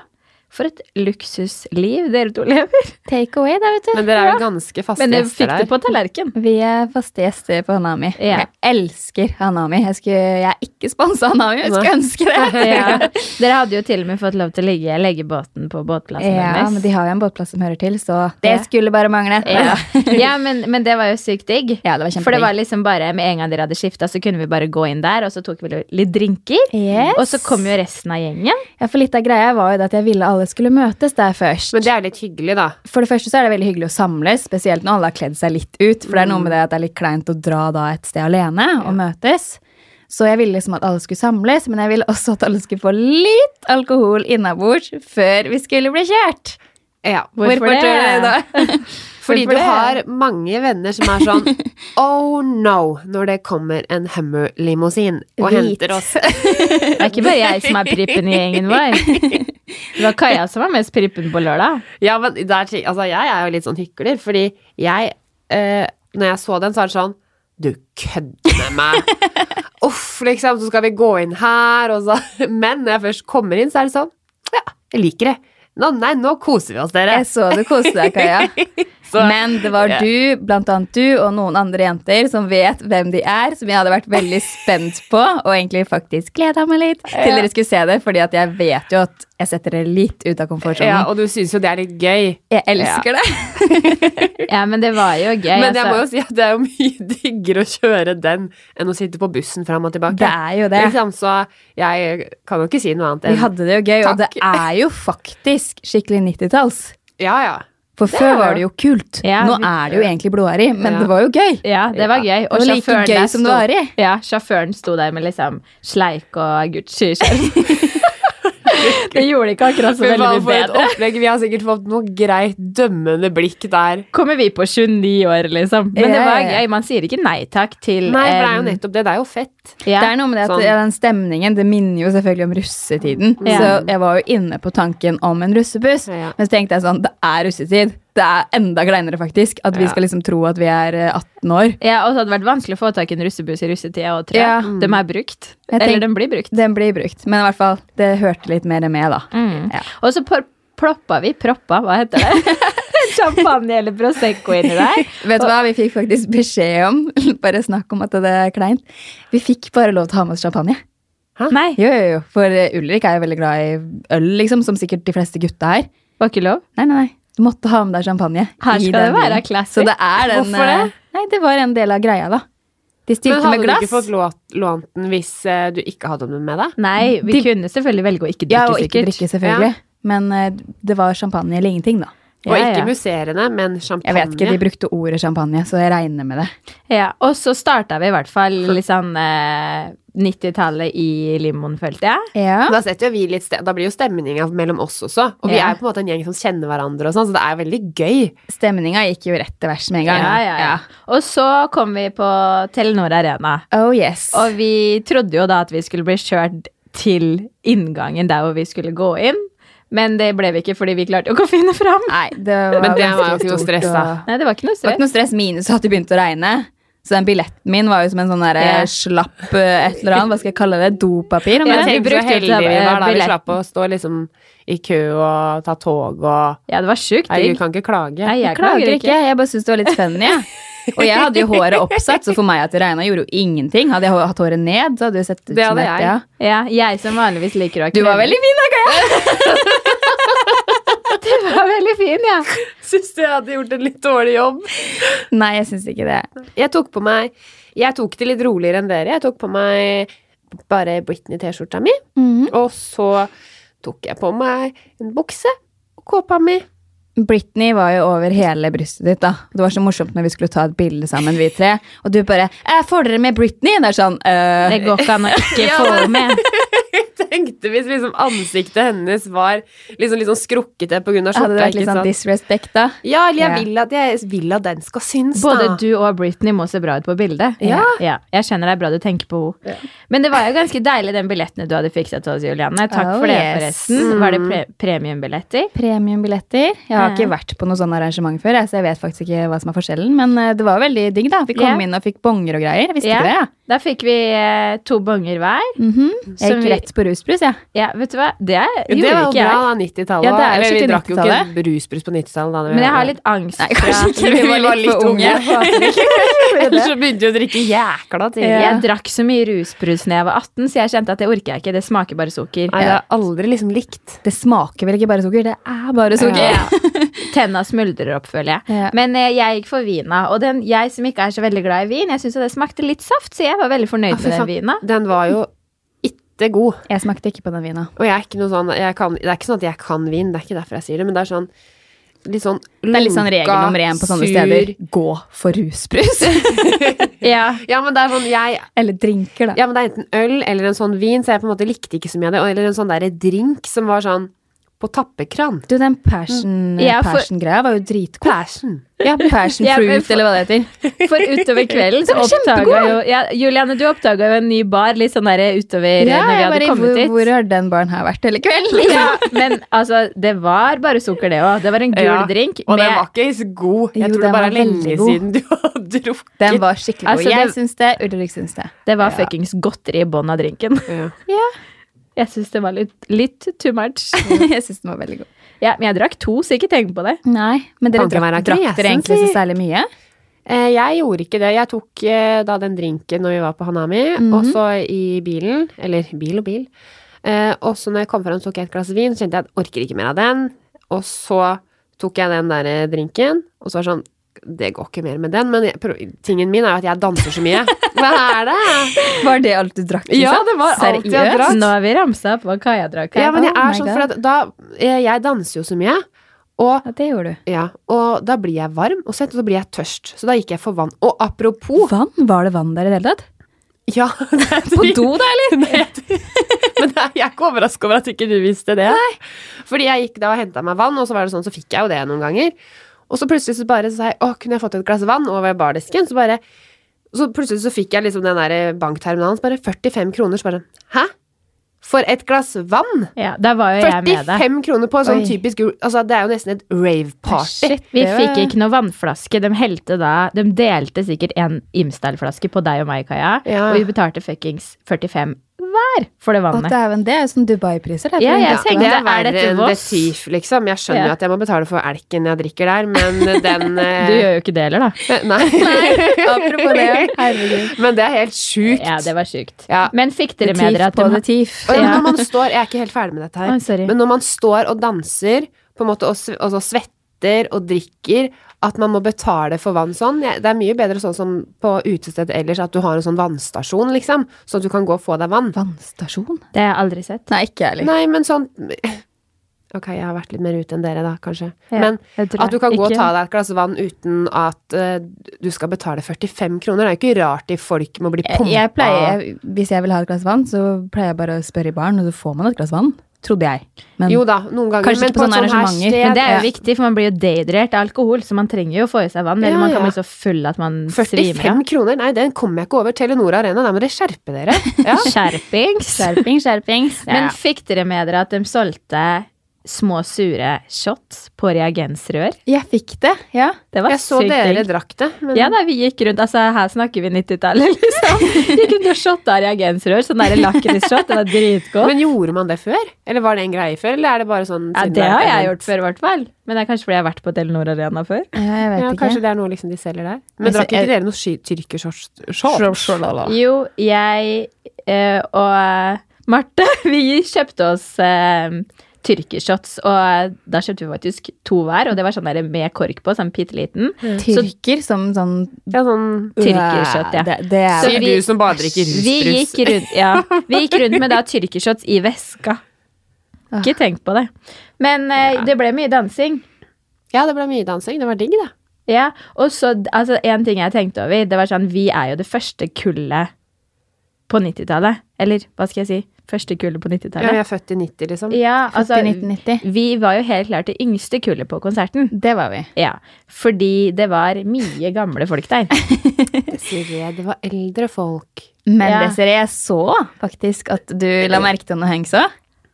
Speaker 2: for et luksusliv dere to lever.
Speaker 3: Take away, da, vet du.
Speaker 4: Men dere er jo ganske faste
Speaker 2: Men dere
Speaker 4: gjester
Speaker 2: fikk det
Speaker 4: der.
Speaker 2: på tallerken.
Speaker 3: Vi er faste gjester på Hanami.
Speaker 2: Ja.
Speaker 3: Jeg elsker Hanami. Jeg, skulle, jeg er ikke sponsa av Hanami, jeg skulle
Speaker 4: Nei.
Speaker 3: ønske det.
Speaker 2: Ja. Dere hadde jo til og med fått lov til å ligge, legge båten på båtplassen
Speaker 3: Ja,
Speaker 2: deres.
Speaker 3: men de har jo en båtplass som hører til, så det
Speaker 2: Ja.
Speaker 3: skulle bare mangle.
Speaker 2: Ja, ja men, men det var jo sykt digg.
Speaker 3: Ja, det var kjempedigg.
Speaker 2: For det var liksom bare med en gang dere hadde skifta, så kunne vi bare gå inn der, og så tok vi litt drinker.
Speaker 3: Yes.
Speaker 2: Og så kom jo resten av gjengen.
Speaker 3: Ja, for litt av greia var jo det at jeg ville alle skulle møtes der først.
Speaker 4: Men det er litt hyggelig, da.
Speaker 3: For det første så er det veldig hyggelig å samles, spesielt når alle har kledd seg litt ut. For det er noe med det at det er litt kleint å dra da et sted alene og møtes. Så jeg ville liksom at alle skulle samles, men jeg ville også at alle skulle få litt alkohol innabords før vi skulle bli kjørt.
Speaker 4: Ja.
Speaker 2: Hvorfor det?
Speaker 3: tror du det?
Speaker 4: Fordi
Speaker 3: Hvorfor
Speaker 4: du
Speaker 3: det?
Speaker 4: har mange venner som er sånn Oh no! Når det kommer en Hummer-limousin og
Speaker 3: Hvit.
Speaker 4: henter oss.
Speaker 2: Det er ikke bare jeg som er prippen i gjengen vår. Det var Kaja som var mest prippen på lørdag.
Speaker 4: Ja, men det er, ting- altså, jeg er jo litt sånn hykler, fordi jeg eh, Når jeg så den, så er det sånn Du kødder med meg! Uff, liksom. Så skal vi gå inn her, og så Men når jeg først kommer inn, så er det sånn Ja, jeg liker det. Nå, nei, nå koser vi oss, dere.
Speaker 3: Jeg så du koste deg, Kaja.
Speaker 4: Så-
Speaker 3: Men det var
Speaker 4: Ja.
Speaker 3: du, blant annet du og noen andre jenter som vet hvem de er, som jeg hadde vært veldig spent på, og egentlig faktisk gleda meg litt til dere skulle se det, fordi at jeg vet jo at jeg setter dere litt ut av
Speaker 4: Ja,
Speaker 3: komfortsonen.
Speaker 4: og du syns jo det er litt gøy.
Speaker 3: Jeg elsker det.
Speaker 2: Ja, men det var jo gøy.
Speaker 4: Men jeg må
Speaker 2: altså.
Speaker 4: jo si at det er jo mye diggere å kjøre den enn å sitte på bussen fram og tilbake.
Speaker 3: Det er jo det.
Speaker 4: Liksom, så jeg kan jo ikke si noe annet
Speaker 3: Vi
Speaker 4: enn
Speaker 3: hadde det jo gøy, og det
Speaker 4: Takk.
Speaker 3: er jo faktisk skikkelig 90-talls.
Speaker 4: Ja, ja.
Speaker 3: For før
Speaker 4: er
Speaker 3: var
Speaker 4: det.
Speaker 3: det jo kult.
Speaker 2: Ja,
Speaker 3: Nå
Speaker 2: vi-
Speaker 3: er det jo egentlig blodåri, men
Speaker 4: Ja.
Speaker 3: det var jo gøy.
Speaker 2: Ja, det var gøy.
Speaker 3: Det var like
Speaker 2: sjåføren
Speaker 3: gøy
Speaker 2: der
Speaker 3: som
Speaker 2: sto-
Speaker 3: det var i.
Speaker 2: Ja, sjåføren sto der med liksom sleik og Gucci-skjerf. Det gjorde ikke akkurat så
Speaker 4: Fy
Speaker 2: veldig
Speaker 4: faen,
Speaker 2: mye
Speaker 4: for et
Speaker 2: bedre.
Speaker 4: opplegg. Vi har sikkert fått noe greit dømmende blikk der.
Speaker 2: Kommer vi på 29 år, liksom. Men det
Speaker 3: Ja,
Speaker 2: var
Speaker 3: ja, ja.
Speaker 2: gøy. Man sier ikke nei takk til
Speaker 4: Nei, for det er jo
Speaker 2: em,
Speaker 4: nettopp det. Det er jo fett.
Speaker 2: ja.
Speaker 3: Det er noe med det at
Speaker 4: Sånn.
Speaker 3: den stemningen Det minner jo selvfølgelig om russetiden.
Speaker 2: Ja.
Speaker 3: Så jeg var jo inne på tanken om en russebuss.
Speaker 4: Ja.
Speaker 3: Men så tenkte jeg sånn, det er russetid. Det er enda kleinere, faktisk. At vi
Speaker 4: Ja.
Speaker 3: skal liksom tro at vi er eh, 18 år.
Speaker 2: Ja, og så hadde det vært vanskelig å få tak i en russebuss i russetida òg, tror jeg.
Speaker 3: Ja.
Speaker 2: De er brukt.
Speaker 3: Jeg
Speaker 2: Eller
Speaker 3: tenk-
Speaker 2: den blir brukt.
Speaker 3: Den blir brukt. Men i hvert fall, det hørte litt mer med, da. Ja.
Speaker 2: Mm. Og så por- ploppa vi proppa, hva heter det? Champagne eller Prosecco inni der.
Speaker 3: Vet du hva, vi fikk faktisk beskjed om Bare snakk om at det er kleint. Vi fikk bare lov til å ha med oss champagne.
Speaker 2: Nei,
Speaker 3: Jo, jo, jo. For eh, Ulrik er jo veldig glad i øl, liksom, som sikkert de fleste gutta her.
Speaker 2: var ikke lov.
Speaker 3: Nei, nei, nei. Du måtte ha med deg champagne.
Speaker 2: Her
Speaker 3: i
Speaker 2: skal
Speaker 3: den
Speaker 2: det være
Speaker 3: bilen.
Speaker 2: classy.
Speaker 3: Så det er den,
Speaker 4: Hvorfor det?
Speaker 3: eh, Nei, det var en del av greia, da. De
Speaker 4: Men
Speaker 3: stilte
Speaker 4: hadde
Speaker 3: med
Speaker 4: du
Speaker 3: glass.
Speaker 4: ikke fått lånt, lånt den hvis eh, du ikke hadde den med deg?
Speaker 2: Nei, vi kunne selvfølgelig velge å ikke drikke,
Speaker 3: ja, og ikke
Speaker 2: sikkert.
Speaker 3: drikke, selvfølgelig. Men eh, det var champagne eller ingenting, da.
Speaker 4: Og
Speaker 2: Ja, ja.
Speaker 4: ikke musserende, men champagne.
Speaker 3: Jeg vet ikke, de brukte ordet champagne, så jeg regner med det.
Speaker 2: Ja, og så starta vi i hvert fall litt sånn eh, 90-tallet i limoen, følte jeg.
Speaker 3: Ja.
Speaker 4: Da, setter jo vi litt ste da blir jo stemninga mellom oss også. Og vi
Speaker 2: Ja.
Speaker 4: er jo på en måte en gjeng som kjenner hverandre, og sånn, så det er veldig gøy.
Speaker 3: Stemninga gikk jo rett til vers med en gang.
Speaker 2: Ja, ja, ja. Og så kom vi på Telenor Arena.
Speaker 3: Oh yes.
Speaker 2: Og vi trodde jo da at vi skulle bli kjørt til inngangen der hvor vi skulle gå inn. Men det ble vi ikke fordi vi klarte jo ikke å finne fram.
Speaker 3: Nei, det var
Speaker 4: Men det var jo
Speaker 3: ganske
Speaker 4: ikke noe
Speaker 3: stort
Speaker 4: stress,
Speaker 3: og-
Speaker 4: da.
Speaker 2: Nei, det var ikke noe
Speaker 3: Det var
Speaker 2: stress.
Speaker 3: ikke noe stress minus at det begynte å regne. Så den billetten min var jo som en sånn der,
Speaker 2: Ja.
Speaker 3: slapp eh, et eller annet, hva skal jeg kalle det, dopapir? om
Speaker 2: Ja,
Speaker 3: jeg
Speaker 4: Men
Speaker 2: vi
Speaker 4: tenk så
Speaker 2: brukte jo
Speaker 4: heldige vi
Speaker 2: til-
Speaker 4: var da vi
Speaker 2: billett.
Speaker 4: slapp å stå liksom i kø og ta tog og
Speaker 2: Ja, det var sjukt
Speaker 4: Herregud,
Speaker 2: digg.
Speaker 4: kan ikke klage.
Speaker 2: Nei, jeg
Speaker 3: Jeg klager ikke, jeg bare syns det var litt funny. jeg. Og jeg hadde jo håret oppsatt, så for meg at det regna, gjorde jo ingenting. Hadde jeg hå- hatt håret ned, så hadde det sett ut
Speaker 4: Det
Speaker 3: som
Speaker 4: hadde
Speaker 3: et
Speaker 4: jeg.
Speaker 3: ja.
Speaker 2: Ja, jeg som vanligvis liker å ha
Speaker 3: Du var
Speaker 2: krøller.
Speaker 3: veldig fin, da, Kaja!
Speaker 2: Det var veldig fin, ja.
Speaker 4: Syns du jeg hadde gjort en litt dårlig jobb?
Speaker 3: Nei, jeg syns ikke det.
Speaker 4: Jeg tok på meg Jeg tok det litt roligere enn dere. Jeg tok på meg bare Britney-T-skjorta mi. Og så tok jeg på meg en bukse og kåpa mi.
Speaker 3: Britney var jo over hele brystet ditt, da. Det var så morsomt når vi skulle ta et bilde sammen, vi tre. "Eh, Og du bare 'Jeg får dere med Britney'. Det er sånn øh,
Speaker 2: Det går ikke an å ikke
Speaker 3: Ja,
Speaker 2: få med.
Speaker 4: tenkte hvis liksom ansiktet hennes var liksom litt sånn skrukkete pga. skjorta.
Speaker 3: Hadde det vært
Speaker 4: ikke
Speaker 3: litt sånn
Speaker 4: sant?
Speaker 3: disrespect, da?
Speaker 4: Ja, eller jeg
Speaker 3: Ja.
Speaker 4: vil at, jeg vil at den skal synes,
Speaker 2: Både
Speaker 4: da.
Speaker 2: du og Britney må se bra ut på bildet.
Speaker 4: Ja.
Speaker 2: Jeg skjønner det er bra du tenker på henne. Men det var jo ganske deilig, den billetten du hadde fiksa til oss, Juliane. Takk
Speaker 3: Oh,
Speaker 2: for det,
Speaker 3: yes.
Speaker 2: forresten. Var det pre premiumbilletter?
Speaker 3: Premiumbilletter. Jeg har ikke vært på noe sånn arrangement før, jeg, så jeg vet faktisk ikke hva som er forskjellen. Men eh, det var veldig digg, da. Vi
Speaker 2: Ja.
Speaker 3: kom inn og fikk bonger og greier. Jeg visste
Speaker 2: Ja.
Speaker 3: ikke det, jeg.
Speaker 2: Da fikk vi eh, to bonger hver.
Speaker 3: Mhm. Jeg
Speaker 2: Som
Speaker 3: gikk
Speaker 2: vi-
Speaker 3: rett på rusbrus, jeg.
Speaker 2: Ja, vet du hva? Det
Speaker 4: Jo,
Speaker 2: gjorde
Speaker 4: det var jo
Speaker 2: ikke
Speaker 4: bra,
Speaker 2: jeg.
Speaker 4: da. 90-tallet.
Speaker 3: Ja, det er jo
Speaker 4: Eller vi
Speaker 3: skikkelig
Speaker 4: drakk jo
Speaker 3: 90-tallet.
Speaker 4: ikke rusbrus på 90-tallet. da, når vi
Speaker 2: Men jeg
Speaker 4: var-
Speaker 2: har litt angst.
Speaker 3: Nei, kanskje
Speaker 2: for-
Speaker 3: ikke. Vi var litt for unge.
Speaker 2: Jeg håper ikke vi gjorde det.
Speaker 4: Ellers så begynte vi å drikke jækla tidlig.
Speaker 3: Ja.
Speaker 2: Jeg drakk så mye rusbrus da jeg var 18, så jeg kjente at det orker jeg ikke. Det smaker bare sukker.
Speaker 4: Nei, det har aldri liksom likt.
Speaker 3: Det smaker vel ikke bare sukker, det er bare sukker.
Speaker 2: Ja. Tenna smuldrer opp, føler jeg.
Speaker 3: Ja.
Speaker 2: Men eh, jeg gikk for vina. Og den, jeg som ikke er så veldig glad i vin, jeg syns det smakte litt saft, så jeg var veldig fornøyd
Speaker 4: Ah, fy
Speaker 2: med den
Speaker 4: faen.
Speaker 2: vina.
Speaker 4: Den var jo ikke god.
Speaker 3: Jeg smakte ikke på den vina.
Speaker 4: Og jeg er ikke noe sånn jeg kan, Det er ikke sånn at jeg kan vin, det er ikke derfor jeg sier det, men det er sånn litt sånn
Speaker 3: Det er litt sånn regel nummer én på sånne steder. Gå for rusbrus.
Speaker 2: Ja.
Speaker 4: Ja, men det er sånn jeg
Speaker 3: Eller drinker, da.
Speaker 4: Ja, men det er enten øl eller en sånn vin, så jeg på en måte likte ikke så mye av det. Eller en sånn derre drink som var sånn på tappekran.
Speaker 3: Du, den passion-
Speaker 2: Mm. Ja, for-
Speaker 3: passion-greia var jo dritgod.
Speaker 4: Passion.
Speaker 3: Ja, passion
Speaker 2: Ja, men
Speaker 3: fruit,
Speaker 2: for-
Speaker 3: eller hva det heter.
Speaker 2: For utover kvelden så
Speaker 3: Den var
Speaker 2: oppdaga
Speaker 3: kjempegod.
Speaker 2: jo ja, Juliane, du oppdaga jo en ny bar litt sånn der utover eh, når vi hadde kommet
Speaker 3: hvor,
Speaker 2: hit.
Speaker 3: hvor har den baren her vært hele kvelden? Liksom,
Speaker 2: ja, men altså, det var bare sukker, det òg. Det var en gul
Speaker 4: Ja,
Speaker 2: drink.
Speaker 4: Og
Speaker 2: med-
Speaker 4: den var ikke så god. Jeg
Speaker 3: Jo,
Speaker 4: tror det
Speaker 3: den
Speaker 4: bare
Speaker 3: var
Speaker 4: er lenge
Speaker 3: veldig god.
Speaker 4: siden du har drukket.
Speaker 3: Den var skikkelig god.
Speaker 2: Altså,
Speaker 3: jeg
Speaker 2: det-
Speaker 3: syns det, Ulrik syns det.
Speaker 2: Det var fuckings godteri i bånn av drinken.
Speaker 4: Ja.
Speaker 2: Jeg syns det var litt, litt too much.
Speaker 3: jeg syns den var veldig god.
Speaker 2: Ja, men jeg drakk to, så ikke tenk på det.
Speaker 3: Nei, men dere
Speaker 4: Kan ikke
Speaker 3: drakk,
Speaker 4: være
Speaker 3: drakk
Speaker 4: kresen,
Speaker 3: dere egentlig
Speaker 4: si.
Speaker 3: så særlig mye?
Speaker 4: Eh, Jeg gjorde ikke det. Jeg tok eh, da den drinken når vi var på Hanami, og
Speaker 3: Mhm.
Speaker 4: så i bilen, eller bil og bil. Eh, og så når jeg kom fram, tok jeg et glass vin, så kjente jeg at jeg orker ikke mer av den. Og så tok jeg den der eh, drinken, og så var det sånn det går ikke mer med den, men jeg, prøv- tingen min er jo at jeg danser så mye. Hva er det?
Speaker 3: Var det alt du drakk?
Speaker 4: Ja,
Speaker 3: liksom?
Speaker 4: det var alt jeg
Speaker 3: Seriøst?
Speaker 4: drakk.
Speaker 2: Nå har vi ramsa opp hva Kaja drakk. her.
Speaker 4: Ja, men jeg
Speaker 3: Oh
Speaker 4: er
Speaker 3: my
Speaker 4: sånn,
Speaker 3: God.
Speaker 4: for at da eh, Jeg danser jo så mye, og
Speaker 3: Ja, det gjorde du.
Speaker 4: ja, og da blir jeg varm og svett, og så blir jeg tørst. Så da gikk jeg for vann. Og
Speaker 2: Oh.
Speaker 4: apropos
Speaker 3: Vann? Var det vann der i det hele tatt?
Speaker 4: Ja, det er
Speaker 3: På do, da, eller?
Speaker 4: Men det er, jeg er ikke overrasket over at ikke du visste det. Fordi jeg gikk da og hentet meg vann, og så var det sånn, så fikk jeg jo det noen ganger. Og så plutselig så bare sa jeg, å, kunne jeg fått et glass vann over bardisken? Så bare, så plutselig så fikk jeg liksom den der bankterminalen, så bare 45 kroner, så bare, hæ? For et glass vann?
Speaker 2: Ja, da var jo jeg med deg.
Speaker 4: 45 kroner på en sånn
Speaker 3: Oi.
Speaker 4: typisk, gul- altså det er jo nesten et rave party.
Speaker 3: Ah, Shit,
Speaker 2: Vi
Speaker 3: det
Speaker 2: fikk
Speaker 3: var-
Speaker 2: ikke noe vannflaske. De helte da De delte sikkert en Imsdal-flaske på deg og meg, Kaja.
Speaker 4: Ja.
Speaker 2: Og vi betalte fuckings 45 hver for det
Speaker 3: Å,
Speaker 2: vannet.
Speaker 3: dæven, det er jo som Dubai-priser. det er
Speaker 2: Ja,
Speaker 3: for en
Speaker 2: jeg
Speaker 3: dag.
Speaker 2: tenkte-
Speaker 4: det er
Speaker 2: er
Speaker 4: verre
Speaker 2: dette
Speaker 4: enn The
Speaker 2: Voss?
Speaker 4: Thief, liksom. Jeg skjønner
Speaker 2: Ja.
Speaker 4: jo at jeg må betale for elken jeg drikker der, men den... eh,
Speaker 2: Du gjør jo ikke det heller, da.
Speaker 4: Nei.
Speaker 3: Apropos det, herregud.
Speaker 4: Men det er helt sjukt.
Speaker 2: Ja, det var sjukt.
Speaker 4: Ja.
Speaker 2: Men fikk dere med dere
Speaker 3: Tiff
Speaker 2: at
Speaker 3: på det
Speaker 2: de
Speaker 3: tiff.
Speaker 4: Og ja, men
Speaker 2: Ja.
Speaker 4: når man står, Jeg er ikke helt ferdig med dette her.
Speaker 2: Oi, sorry.
Speaker 4: Men når man står og danser på en måte, og, sve- og så svetter og drikker, at man må betale for vann sånn jeg, Det er mye bedre sånn som på utested ellers, at du har en sånn vannstasjon, liksom. Så at du kan gå og få deg vann.
Speaker 3: Vannstasjon?
Speaker 2: Det har jeg aldri sett.
Speaker 3: Nei, ikke jeg heller.
Speaker 4: Nei, men sånn Ok, jeg har vært litt mer ute enn dere, da, kanskje.
Speaker 2: Ja,
Speaker 4: men
Speaker 2: jeg tror
Speaker 4: at du kan gå og
Speaker 2: ikke-
Speaker 4: ta deg et glass vann uten at eh, du skal betale 45 kroner. Det er jo ikke rart de folk må bli
Speaker 3: Jeg,
Speaker 4: pumpa.
Speaker 3: jeg pleier, jeg, hvis jeg vil ha et glass vann, så pleier jeg bare å spørre i baren, og så får man et glass vann. Trodde jeg. Men
Speaker 4: Jo da, noen ganger.
Speaker 3: Kanskje
Speaker 4: men
Speaker 3: ikke på sånne
Speaker 4: et sånt her
Speaker 3: arrangementer,
Speaker 4: sted-
Speaker 2: Men det er jo
Speaker 3: Ja.
Speaker 2: viktig, for man blir jo dehydrert av alkohol, så man trenger jo å få i seg vann. Eller
Speaker 4: Ja,
Speaker 2: man kan
Speaker 4: ja.
Speaker 2: bli så full at man svimer
Speaker 4: 45
Speaker 2: av.
Speaker 4: kroner? Nei, den kommer jeg ikke over. Telenor Arena, der må dere skjerpe dere. Ja.
Speaker 2: Skjerpings.
Speaker 3: skjerping, skjerpings.
Speaker 2: Men fikk dere med dere at de solgte små sure shots på reagensrør?
Speaker 3: jeg fikk det, ja.
Speaker 2: Det var
Speaker 4: Jeg så
Speaker 2: sykt
Speaker 4: dere
Speaker 2: digg.
Speaker 4: drakk det. Men
Speaker 2: Ja, da, vi gikk rundt, altså Her snakker vi 90-tallet, liksom. Gikk rundt og shotta reagensrør. Sånn der lakrisshot. Det var dritgodt.
Speaker 4: men gjorde man det før? Eller var det en greie før? Eller er det bare sånn
Speaker 2: Ja,
Speaker 4: siden
Speaker 2: det har
Speaker 4: er et
Speaker 2: jeg
Speaker 4: event?
Speaker 2: gjort før, i hvert fall. Men det er kanskje fordi jeg har vært på Telenor Arena før.
Speaker 3: ja jeg vet
Speaker 4: Ja,
Speaker 3: ikke.
Speaker 4: kanskje det er noe liksom de selger der. Men
Speaker 3: Jeg
Speaker 4: drakk
Speaker 3: sy-
Speaker 4: ikke
Speaker 3: jeg-
Speaker 4: dere noe sky- tyrkershorts? shorts?
Speaker 2: Jo, jeg eh, og eh, Marte, vi kjøpte oss eh, tyrkershots, og eh, da kjøpte vi faktisk to hver, og det var sånn der med kork på, sånn bitte liten.
Speaker 3: Tyrker som sånn
Speaker 4: Ja, sånn
Speaker 2: Tyrkershot, ja.
Speaker 3: Det, det er
Speaker 2: Så
Speaker 4: Sier
Speaker 2: vi-
Speaker 4: du som bare drikker
Speaker 2: Vi gikk
Speaker 4: rusbrus.
Speaker 2: rundt, ja, vi gikk rundt med da tyrkershots i veska.
Speaker 3: Ah.
Speaker 2: Ikke tenk på det. Men eh, det ble mye dansing.
Speaker 4: Ja, det ble mye dansing. Det var digg, det.
Speaker 2: Ja, og så, altså, en ting jeg tenkte over, det var sånn, vi er jo det første kullet på 90-tallet. Eller hva skal jeg si? Første kullet på
Speaker 4: Ja, vi
Speaker 2: 90-tallet.
Speaker 4: er født i 90, liksom.
Speaker 2: Ja, altså,
Speaker 3: Født i 1990.
Speaker 2: vi var jo helt klart det yngste kullet på konserten.
Speaker 3: Det var vi.
Speaker 2: Ja, fordi det var mye gamle folk der.
Speaker 4: Desiree, det var eldre folk.
Speaker 3: Men
Speaker 2: Ja.
Speaker 3: Desiree, jeg så faktisk at du la merke til noe hengs òg.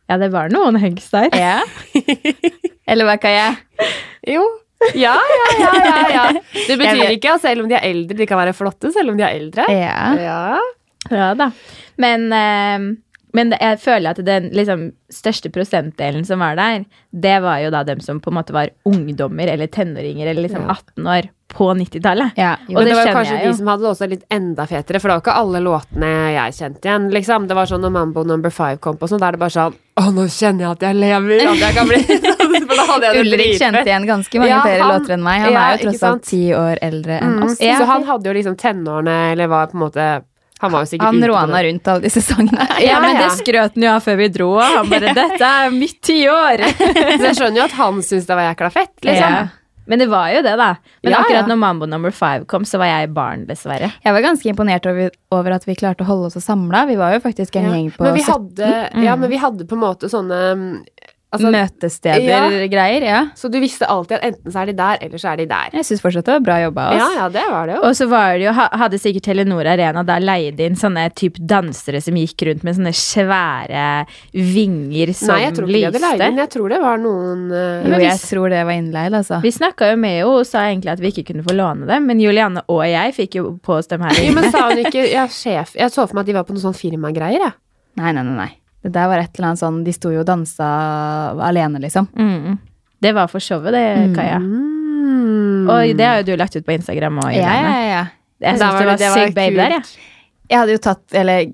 Speaker 2: Ja, det var noen hunks der.
Speaker 3: Ja. Eller hva kan jeg?
Speaker 4: Jo. Ja, ja, ja, ja, ja. Det
Speaker 3: Jeg
Speaker 4: betyr
Speaker 3: vet-
Speaker 4: ikke at selv om de er eldre, de kan være flotte selv om de er eldre.
Speaker 3: Ja.
Speaker 4: Ja.
Speaker 2: Ja da. Men, eh, men det- jeg føler at den liksom, største prosentdelen som var der, det var jo da dem som på en måte var ungdommer eller tenåringer eller liksom
Speaker 4: Ja.
Speaker 2: 18 år på 90-tallet.
Speaker 3: Ja,
Speaker 2: Og
Speaker 4: Men
Speaker 2: det
Speaker 4: det, var
Speaker 2: skjønner
Speaker 4: kanskje
Speaker 2: jeg
Speaker 4: de
Speaker 2: jo.
Speaker 4: som hadde det også litt enda fetere, for det var ikke alle låtene jeg kjente igjen. Liksom. Det var sånn når Mambo number five kom på, sånn, da er det bare sånn Å, nå kjenner jeg at jeg lever! At jeg kan bli For da hadde jeg det
Speaker 3: Ulrik
Speaker 4: dritfett.
Speaker 3: kjente igjen ganske mange
Speaker 4: Ja,
Speaker 3: flere
Speaker 4: han-
Speaker 3: låter enn meg. Han
Speaker 4: Ja,
Speaker 3: er jo
Speaker 4: ikke
Speaker 3: tross alt
Speaker 4: sant?
Speaker 3: ti år eldre enn
Speaker 4: Mm.
Speaker 3: oss.
Speaker 4: Så han hadde jo liksom tenårene, eller var på en måte Han var jo sikkert
Speaker 3: Han
Speaker 4: ute på
Speaker 3: råna
Speaker 4: det.
Speaker 3: rundt alle disse sangene.
Speaker 2: Ja, men
Speaker 4: ja.
Speaker 2: det skrøt han jo av før vi dro og Han bare 'Dette er mitt tiår'!
Speaker 4: Så jeg skjønner jo at han syntes det var jækla fett, liksom.
Speaker 2: Liksom. Men det var jo det, da. Men
Speaker 4: Ja,
Speaker 2: akkurat
Speaker 4: ja.
Speaker 2: når Mambo number five kom, så var jeg barn, dessverre.
Speaker 3: Jeg var ganske imponert over, over at vi klarte å holde oss samla. Vi var jo faktisk en
Speaker 4: Ja.
Speaker 3: gjeng på
Speaker 4: men vi
Speaker 3: 17
Speaker 4: hadde, ja, men vi hadde på en måte sånne mm, altså,
Speaker 3: møtesteder-greier. Ja.
Speaker 4: Så du visste alltid at enten så er de der, eller så er de der.
Speaker 3: Jeg syns fortsatt det var bra jobba av
Speaker 4: Ja,
Speaker 3: oss.
Speaker 4: ja, det var det jo.
Speaker 2: Og så var det jo, ha- hadde sikkert Telenor Arena der leid inn sånne typ dansere som gikk rundt med sånne svære vinger som
Speaker 4: Nei, jeg tror ikke de hadde leid
Speaker 2: lyste.
Speaker 4: inn. Jeg tror det var noen eh,
Speaker 3: Jo,
Speaker 2: men
Speaker 3: jeg
Speaker 2: hvis-
Speaker 3: tror det var innleid, altså.
Speaker 2: Vi snakka jo med henne og sa egentlig at vi ikke kunne få låne dem, men Julianne og jeg fikk jo på oss dem her.
Speaker 4: Jo, men sa hun ikke ja, sjef Jeg så for meg at de var på noen sånn firmagreier, jeg.
Speaker 3: Nei, nei, nei. nei. Det der var et eller annet sånn De sto jo og dansa alene, liksom.
Speaker 2: Mm. Det var for showet,
Speaker 3: Mm.
Speaker 2: det, Kaja. Og det har jo du lagt ut på Instagram òg,
Speaker 3: Ja, ja,
Speaker 2: Julianne.
Speaker 3: ja.
Speaker 2: Jeg syns
Speaker 4: Mm. Da
Speaker 2: det
Speaker 4: var det-
Speaker 2: var
Speaker 4: det var
Speaker 2: sykt babe
Speaker 4: kult.
Speaker 2: der, jeg.
Speaker 3: Jeg hadde jo tatt Eller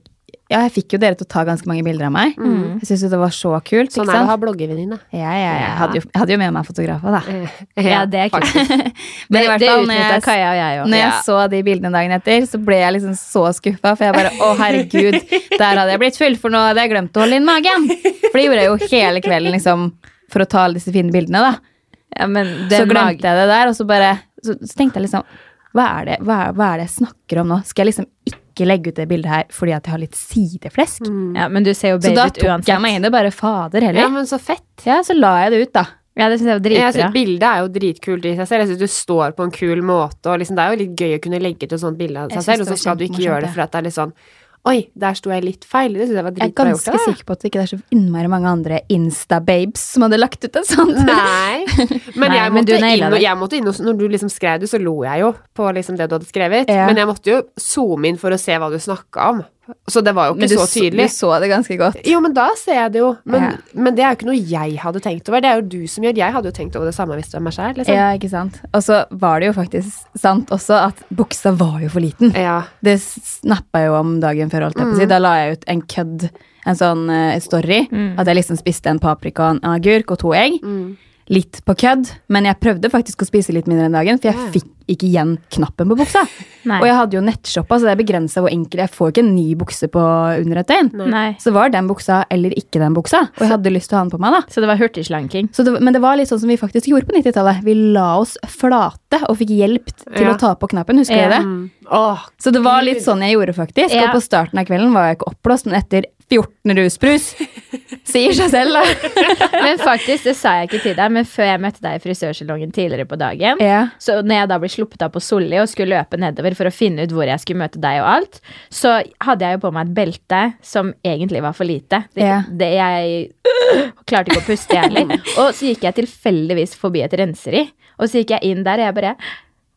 Speaker 3: ja, jeg fikk jo dere til å ta ganske mange bilder av meg. Jeg syns jo Mm. det var så kult. ikke
Speaker 4: Sånn er det å
Speaker 3: sant?
Speaker 4: ha bloggevenninne.
Speaker 3: Ja, ja, ja. Jeg hadde jo, jeg hadde jo med meg fotografer, da.
Speaker 2: Ja, det er kult.
Speaker 3: Men i
Speaker 2: Det,
Speaker 3: hvert
Speaker 2: det
Speaker 3: fall, når
Speaker 2: utnytta
Speaker 3: jeg-
Speaker 2: Kaja og jeg òg.
Speaker 3: Når jeg så de bildene dagen etter, så ble jeg liksom så skuffa. For jeg bare Å, herregud, der hadde jeg blitt full, for nå hadde jeg glemt å holde inn magen. For det gjorde jeg jo hele kvelden, liksom, for å ta alle disse fine bildene, da.
Speaker 2: Ja, men
Speaker 3: Så
Speaker 2: den mag-
Speaker 3: glemte jeg det der, og så bare Så, så tenkte jeg liksom hva er, det, hva, er, hva er det jeg snakker om nå? Skal jeg liksom ikke legge ut det bildet her fordi at jeg har litt
Speaker 4: Mm.
Speaker 3: sideflesk?
Speaker 2: Ja, men du ser jo
Speaker 3: Så
Speaker 2: babe Mm.
Speaker 3: da
Speaker 2: ut
Speaker 3: tok
Speaker 2: uansett.
Speaker 3: jeg meg inn i det bare fader
Speaker 4: Ja,
Speaker 3: heller.
Speaker 4: men så fett.
Speaker 3: Ja, så la jeg det ut, da.
Speaker 2: Ja, det syns jeg var
Speaker 4: Jeg synes,
Speaker 2: dritbra.
Speaker 4: bildet er jo dritkult i seg selv. Jeg synes du står på en kul måte, og liksom, det er jo litt gøy å kunne legge ut et sånt bilde av
Speaker 3: Jeg
Speaker 4: seg
Speaker 3: synes
Speaker 4: selv,
Speaker 3: det
Speaker 4: og så
Speaker 3: var
Speaker 4: skal du ikke
Speaker 3: kjempemorsomt,
Speaker 4: gjøre det
Speaker 3: ja.
Speaker 4: for at det er litt sånn Oi, der sto jeg litt feil. Det synes jeg var
Speaker 3: Jeg er
Speaker 4: dritbra
Speaker 3: ganske
Speaker 4: gjort. av deg.
Speaker 3: sikker på at det ikke er så innmari mange andre Insta-babes som hadde lagt ut en sånn.
Speaker 4: Nei, men,
Speaker 2: Nei,
Speaker 4: jeg,
Speaker 2: men
Speaker 4: måtte
Speaker 2: du naila
Speaker 4: inn, og-
Speaker 2: det.
Speaker 4: jeg måtte inn og Når du liksom skrev det, så lo jeg jo på liksom det du hadde skrevet.
Speaker 3: Ja.
Speaker 4: Men jeg måtte jo zoome inn for å se hva du snakka om. Så det var jo
Speaker 3: Men
Speaker 4: ikke
Speaker 3: du,
Speaker 4: så
Speaker 3: så-
Speaker 4: tydelig.
Speaker 3: du så det ganske godt.
Speaker 4: Jo, men da ser jeg det jo. Men,
Speaker 3: Ja.
Speaker 4: men det er jo ikke noe jeg hadde tenkt over. Det er jo du som gjør Jeg hadde jo tenkt over det samme hvis det var meg sjæl. Liksom.
Speaker 3: Ja, ikke sant? Og så var det jo faktisk sant også at buksa var jo for liten.
Speaker 4: Ja.
Speaker 3: Det snappa jeg jo om dagen før. Holdt jeg
Speaker 4: Mm.
Speaker 3: på å si. Da la jeg ut en kødd, en sånn eh, story.
Speaker 4: Mm.
Speaker 3: At jeg liksom spiste en paprika og en agurk og to egg. Litt på kødd, men jeg prøvde faktisk å spise litt mindre enn dagen, for jeg fikk ikke igjen knappen på buksa.
Speaker 2: Nei.
Speaker 3: Og jeg hadde jo nettshoppa, så det er begrensa hvor enkel Jeg får ikke en ny bukse på under et døgn.
Speaker 2: Nei.
Speaker 3: Så var den buksa eller ikke den buksa. Og jeg hadde lyst til å ha den på meg, da.
Speaker 2: Så det var hurtigslanking.
Speaker 3: Så det, men det var litt sånn som vi faktisk gjorde på 90-tallet. Vi la oss flate og fikk hjelp til
Speaker 4: Ja.
Speaker 3: å ta på knappen. Husker
Speaker 2: Ja.
Speaker 3: dere det?
Speaker 4: Mm. Åh,
Speaker 3: Så det var litt sånn jeg gjorde, faktisk.
Speaker 2: Ja.
Speaker 3: Og på starten av kvelden var jeg ikke oppblåst, men etter 14 rusbrus Sier seg selv, da.
Speaker 2: Men faktisk, det sa jeg ikke til deg, men før jeg møtte deg i frisørsalongen tidligere på dagen,
Speaker 3: Ja.
Speaker 2: så når jeg da ble sluppet av på Solli og skulle løpe nedover for å finne ut hvor jeg skulle møte deg og alt, så hadde jeg jo på meg et belte som egentlig var for lite. Det,
Speaker 3: Ja.
Speaker 2: det jeg klarte ikke å puste, jeg heller. Og så gikk jeg tilfeldigvis forbi et renseri, og så gikk jeg inn der, og jeg bare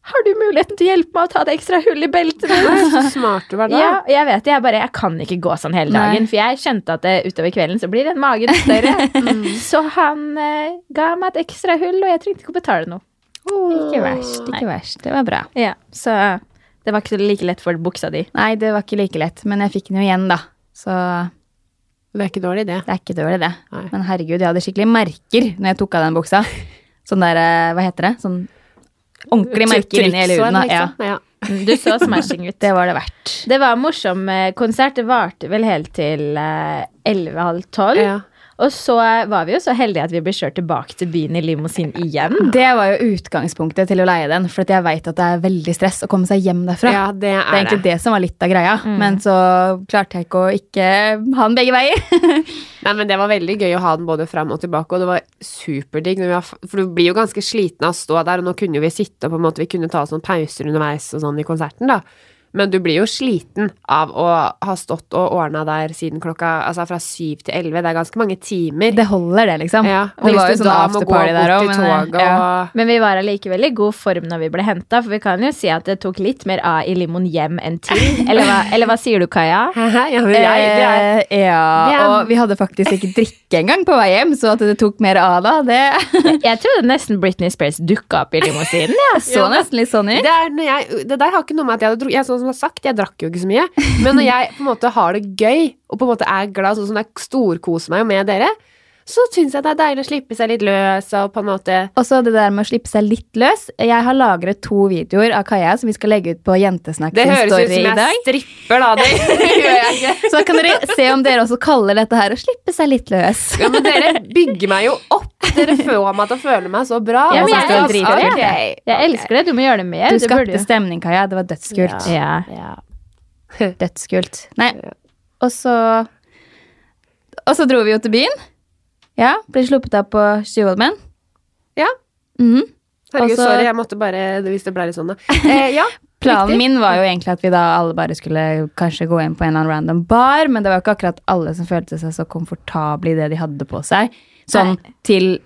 Speaker 2: Har du muligheten til å hjelpe meg å ta det ekstra hullet i beltet mitt?
Speaker 4: så smart du var da.
Speaker 2: Ja, jeg vet det. Jeg bare, jeg kan ikke gå sånn hele dagen. For jeg kjente at det, utover kvelden så blir den magen større. Så han eh, ga meg et ekstra hull, og jeg trengte ikke å betale noe.
Speaker 3: Ikke verst. Ikke verst. Det var bra.
Speaker 2: Ja, så det var ikke like lett for buksa di.
Speaker 3: Nei, det var ikke like lett, men jeg fikk den jo igjen, da. Så det
Speaker 4: Det er ikke dårlig, det.
Speaker 3: er ikke dårlig, det.
Speaker 4: Nei.
Speaker 3: Men herregud, jeg hadde skikkelig merker når jeg tok av den buksa. Sånn der, eh, hva heter det? Sånn ordentlige merker inni hele huden. da.
Speaker 4: Trykksår,
Speaker 3: Ja,
Speaker 4: liksom. Ja.
Speaker 2: Mm, Du så smashing ut.
Speaker 3: det var det verdt.
Speaker 2: Det var en morsom eh, konsert. Det varte vel helt til elleve-halv eh, tolv.
Speaker 4: Ja.
Speaker 2: Og så var vi jo så heldige at vi ble kjørt tilbake til byen i limousin igjen.
Speaker 3: Det var jo utgangspunktet til å leie den, for at jeg veit at det er veldig stress å komme seg hjem derfra.
Speaker 4: Ja, det
Speaker 3: det er
Speaker 4: er
Speaker 3: egentlig
Speaker 4: det. Mm.
Speaker 3: det som var litt av greia, men så klarte jeg ikke å ikke ha den begge veier.
Speaker 4: Nei, men det var veldig gøy å ha den både fram og tilbake, og det var superdigg. når vi var f- For du blir jo ganske sliten av å stå der, og nå kunne jo vi sitte og på en måte, vi kunne ta sånn pauser underveis og sånn i konserten, da. Men du blir jo sliten av å ha stått og ordna der siden klokka Altså fra syv til elleve. Det er ganske mange timer.
Speaker 3: Det holder, det, liksom.
Speaker 4: ja.
Speaker 3: Det var jo sånn afterparty der òg,
Speaker 4: men toget,
Speaker 3: ja.
Speaker 4: og,
Speaker 2: Men vi var allikevel i god form når vi ble henta, for vi kan jo si at det tok litt mer av i limoen hjem enn til. Eller hva, eller hva sier du, Kaja?
Speaker 4: ja, men jeg, det er
Speaker 3: Eh,
Speaker 4: det
Speaker 3: ja,
Speaker 4: er-
Speaker 3: og vi hadde faktisk ikke drikke engang på vei hjem, så at det tok mer av da, det
Speaker 2: Jeg trodde nesten Britney Spears dukka opp i limousinen. Ja.
Speaker 3: så nesten litt sånn ut.
Speaker 4: Det, er når jeg, det der har ikke noe med at jeg hadde drukket. Jeg, sånn som jeg har sagt, jeg drakk jo ikke så mye. Men når jeg på en måte har det gøy, og på en måte er glad, sånn som jeg storkoser meg jo med dere, så syns jeg det er deilig å slippe seg litt løs og på en måte
Speaker 3: Og så det der med å slippe seg litt løs. Jeg har lagret to videoer av Kaja som vi skal legge ut på Jentesnakk
Speaker 4: Det
Speaker 3: sin
Speaker 4: høres ut
Speaker 3: story
Speaker 4: som
Speaker 3: i dag.
Speaker 4: jeg stripper, da. Det gjør jeg ikke.
Speaker 3: Så da kan dere se om dere også kaller dette her å slippe seg litt løs.
Speaker 4: Ja, men dere bygger meg jo opp. Dere får meg til å føle meg så bra.
Speaker 2: Ja,
Speaker 4: Og
Speaker 2: men
Speaker 4: så
Speaker 2: jeg
Speaker 4: skal
Speaker 2: elsker det.
Speaker 4: altså, ok.
Speaker 2: Jeg elsker det. Du må gjøre det mer.
Speaker 3: Du
Speaker 2: Det burde
Speaker 3: skapte stemning, Kaja. Det var dødskult.
Speaker 2: jo- Ja.
Speaker 4: Ja.
Speaker 3: Dødskult. Nei, og så Og så dro vi jo til byen. Ja, ble sluppet av på Tjuvholmen.
Speaker 4: ja.
Speaker 3: Mhm.
Speaker 4: Herregud,
Speaker 3: Og så-
Speaker 4: sorry. Jeg måtte bare Hvis det ble litt sånn, da. Eh, ja.
Speaker 3: Planen
Speaker 4: riktig.
Speaker 3: min var jo egentlig at vi da alle bare skulle kanskje gå inn på en eller annen random bar, men det var jo ikke akkurat alle som følte seg så komfortable i det de hadde på seg. Sånn til,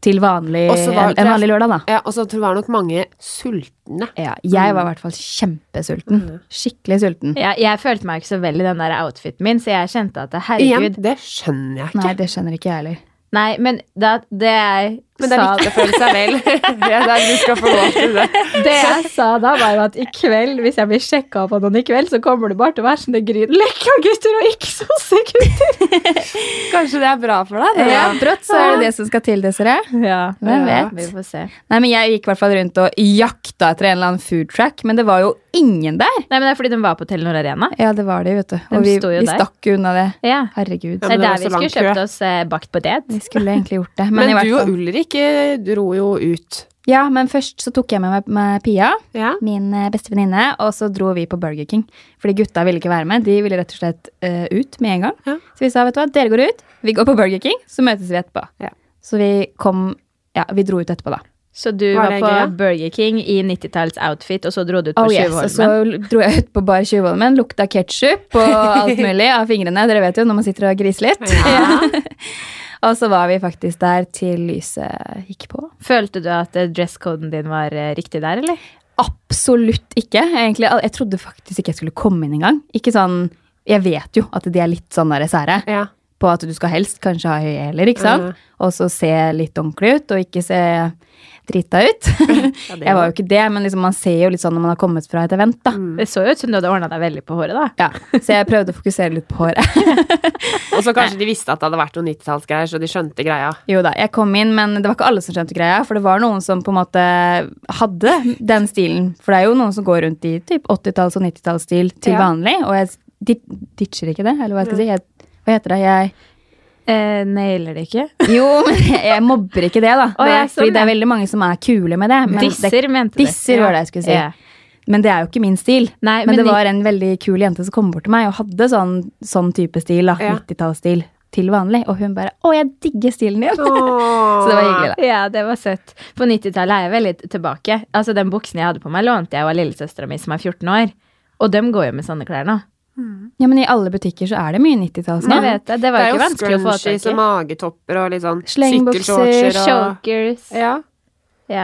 Speaker 3: til vanlig,
Speaker 4: Og så var-
Speaker 3: en, en vanlig lørdag, da.
Speaker 4: Ja, og så tror jeg det var nok mange sultne.
Speaker 3: Ja, jeg var i hvert fall kjempesulten.
Speaker 4: Mm.
Speaker 3: Skikkelig sulten.
Speaker 2: Ja, jeg følte meg ikke så vel i den der outfiten min, så jeg kjente at
Speaker 4: Igjen,
Speaker 2: herregud
Speaker 4: det skjønner jeg ikke.
Speaker 3: Nei, det skjønner ikke jeg heller.
Speaker 2: Nei, men da, det jeg
Speaker 4: Men det er
Speaker 2: sa
Speaker 4: viktig å føle seg vel. det er der du skal få lov til det.
Speaker 2: Det jeg sa da, var jo at i kveld, hvis jeg blir sjekka opp av noen i kveld, så kommer det bare til å være sånn sånne Grünerløkka gutter og ikke sossegutter.
Speaker 4: Kanskje det er bra for deg?
Speaker 3: Ja, brått så er det det som skal til, Desiree.
Speaker 2: Ja,
Speaker 3: Hvem vet?
Speaker 2: Vi får se.
Speaker 3: Nei, men jeg gikk i hvert fall rundt og jakta etter en eller annen food track, men det var jo ingen der.
Speaker 2: Nei, men det er fordi de var på Telenor Arena.
Speaker 3: Ja, det var det, vet du.
Speaker 2: De
Speaker 3: Og vi,
Speaker 2: sto jo
Speaker 3: vi
Speaker 2: der.
Speaker 3: stakk jo unna det.
Speaker 2: Ja.
Speaker 3: Herregud.
Speaker 4: Ja,
Speaker 2: Det
Speaker 4: men
Speaker 2: er
Speaker 4: det var
Speaker 2: der vi
Speaker 4: så lang
Speaker 2: skulle
Speaker 4: kø.
Speaker 2: kjøpt oss eh, bakt på det.
Speaker 3: Vi skulle egentlig gjort det. Men,
Speaker 4: Men,
Speaker 3: i hvert
Speaker 4: du
Speaker 3: fall.
Speaker 4: og Ulrik eh, dro jo ut.
Speaker 3: Ja, men først så tok jeg med meg med Pia,
Speaker 4: Ja.
Speaker 3: min eh, beste venninne, og så dro vi på Burger King. Fordi gutta ville ikke være med. De ville rett og slett eh, ut med en gang.
Speaker 4: Ja.
Speaker 3: Så vi sa vet du hva, dere går ut, vi går på Burger King, så møtes vi etterpå.
Speaker 4: Ja.
Speaker 3: Så vi kom Ja, vi dro ut etterpå, da.
Speaker 2: Så du
Speaker 4: Var
Speaker 2: var,
Speaker 4: det
Speaker 2: på
Speaker 4: gøy, ja?
Speaker 2: Burger King i 90-talls-outfit, og så dro du ut på
Speaker 3: Oh,
Speaker 2: oh,
Speaker 3: yes. Og så dro jeg ut på bar Tjuvholmen, lukta ketsjup og alt mulig av fingrene. Dere vet jo når man sitter og griser litt. og så var vi faktisk der til lyset gikk på.
Speaker 2: Følte du at eh, dresscoden din var eh, riktig der, eller?
Speaker 3: Absolutt ikke. Egentlig, al- jeg trodde faktisk ikke jeg skulle komme inn engang. Ikke sånn, jeg vet jo at de er litt sånn der sære
Speaker 4: Ja.
Speaker 3: på at du skal helst kanskje ha høye hæler, ikke sant?
Speaker 4: Mhm.
Speaker 3: Og så se litt ordentlig ut, og ikke se drita ut.
Speaker 4: det
Speaker 3: jeg var
Speaker 4: var- Mm.
Speaker 3: jo ikke det, men liksom, man ser jo litt sånn når man har kommet fra et event, da.
Speaker 2: Det så jo ut som du hadde ordna deg veldig på håret, da.
Speaker 3: Ja, så jeg prøvde å fokusere litt på håret.
Speaker 4: Og så kanskje de visste at det hadde vært noen 90-tallsgreier, så de skjønte greia.
Speaker 3: Jo da, jeg kom inn, men det var ikke alle som skjønte greia, for det var noen som på en måte hadde den stilen. For det er jo noen som går rundt i typ 80-talls- og 90-tallsstil til
Speaker 4: Ja.
Speaker 3: vanlig, og jeg dit- ditcher ikke det, eller hva jeg skal si. Jeg, hva heter det? Jeg,
Speaker 2: Eh, nailer det ikke?
Speaker 3: jo, men jeg mobber ikke det, da.
Speaker 2: Å, jeg er sånn,
Speaker 3: Fordi det er
Speaker 2: ja.
Speaker 3: veldig mange som er kule med det. Men det,
Speaker 2: Disser, mente du.
Speaker 3: disser var det jeg skulle si.
Speaker 2: Ja.
Speaker 3: Men det er jo ikke min stil.
Speaker 2: Nei,
Speaker 3: men,
Speaker 2: men
Speaker 3: det
Speaker 2: i-
Speaker 3: var en veldig kul jente som kom bort til meg og hadde sånn, sånn type stil, da.
Speaker 4: Ja.
Speaker 3: 90-tallsstil til vanlig. Og hun bare 'Å, jeg digger stilen din'. Så det var hyggelig, da.
Speaker 2: Ja, det var søtt. På 90-tallet er jeg veldig tilbake. Altså, Den buksen jeg hadde på meg, lånte jeg av lillesøstera mi som er 14 år. Og dem går jo med sånne klær nå.
Speaker 3: Ja, men i alle butikker så er det mye 90-talls nå.
Speaker 2: Jeg vet det, det
Speaker 4: Det
Speaker 2: var
Speaker 4: er
Speaker 2: jo
Speaker 4: jo
Speaker 2: ikke vanskelig å få
Speaker 4: scrunchies og
Speaker 2: tak i.
Speaker 4: magetopper og litt sånn
Speaker 3: Slengbukser,
Speaker 4: sykkelshortser og
Speaker 2: Chokers. Ja.
Speaker 4: ja.
Speaker 2: Det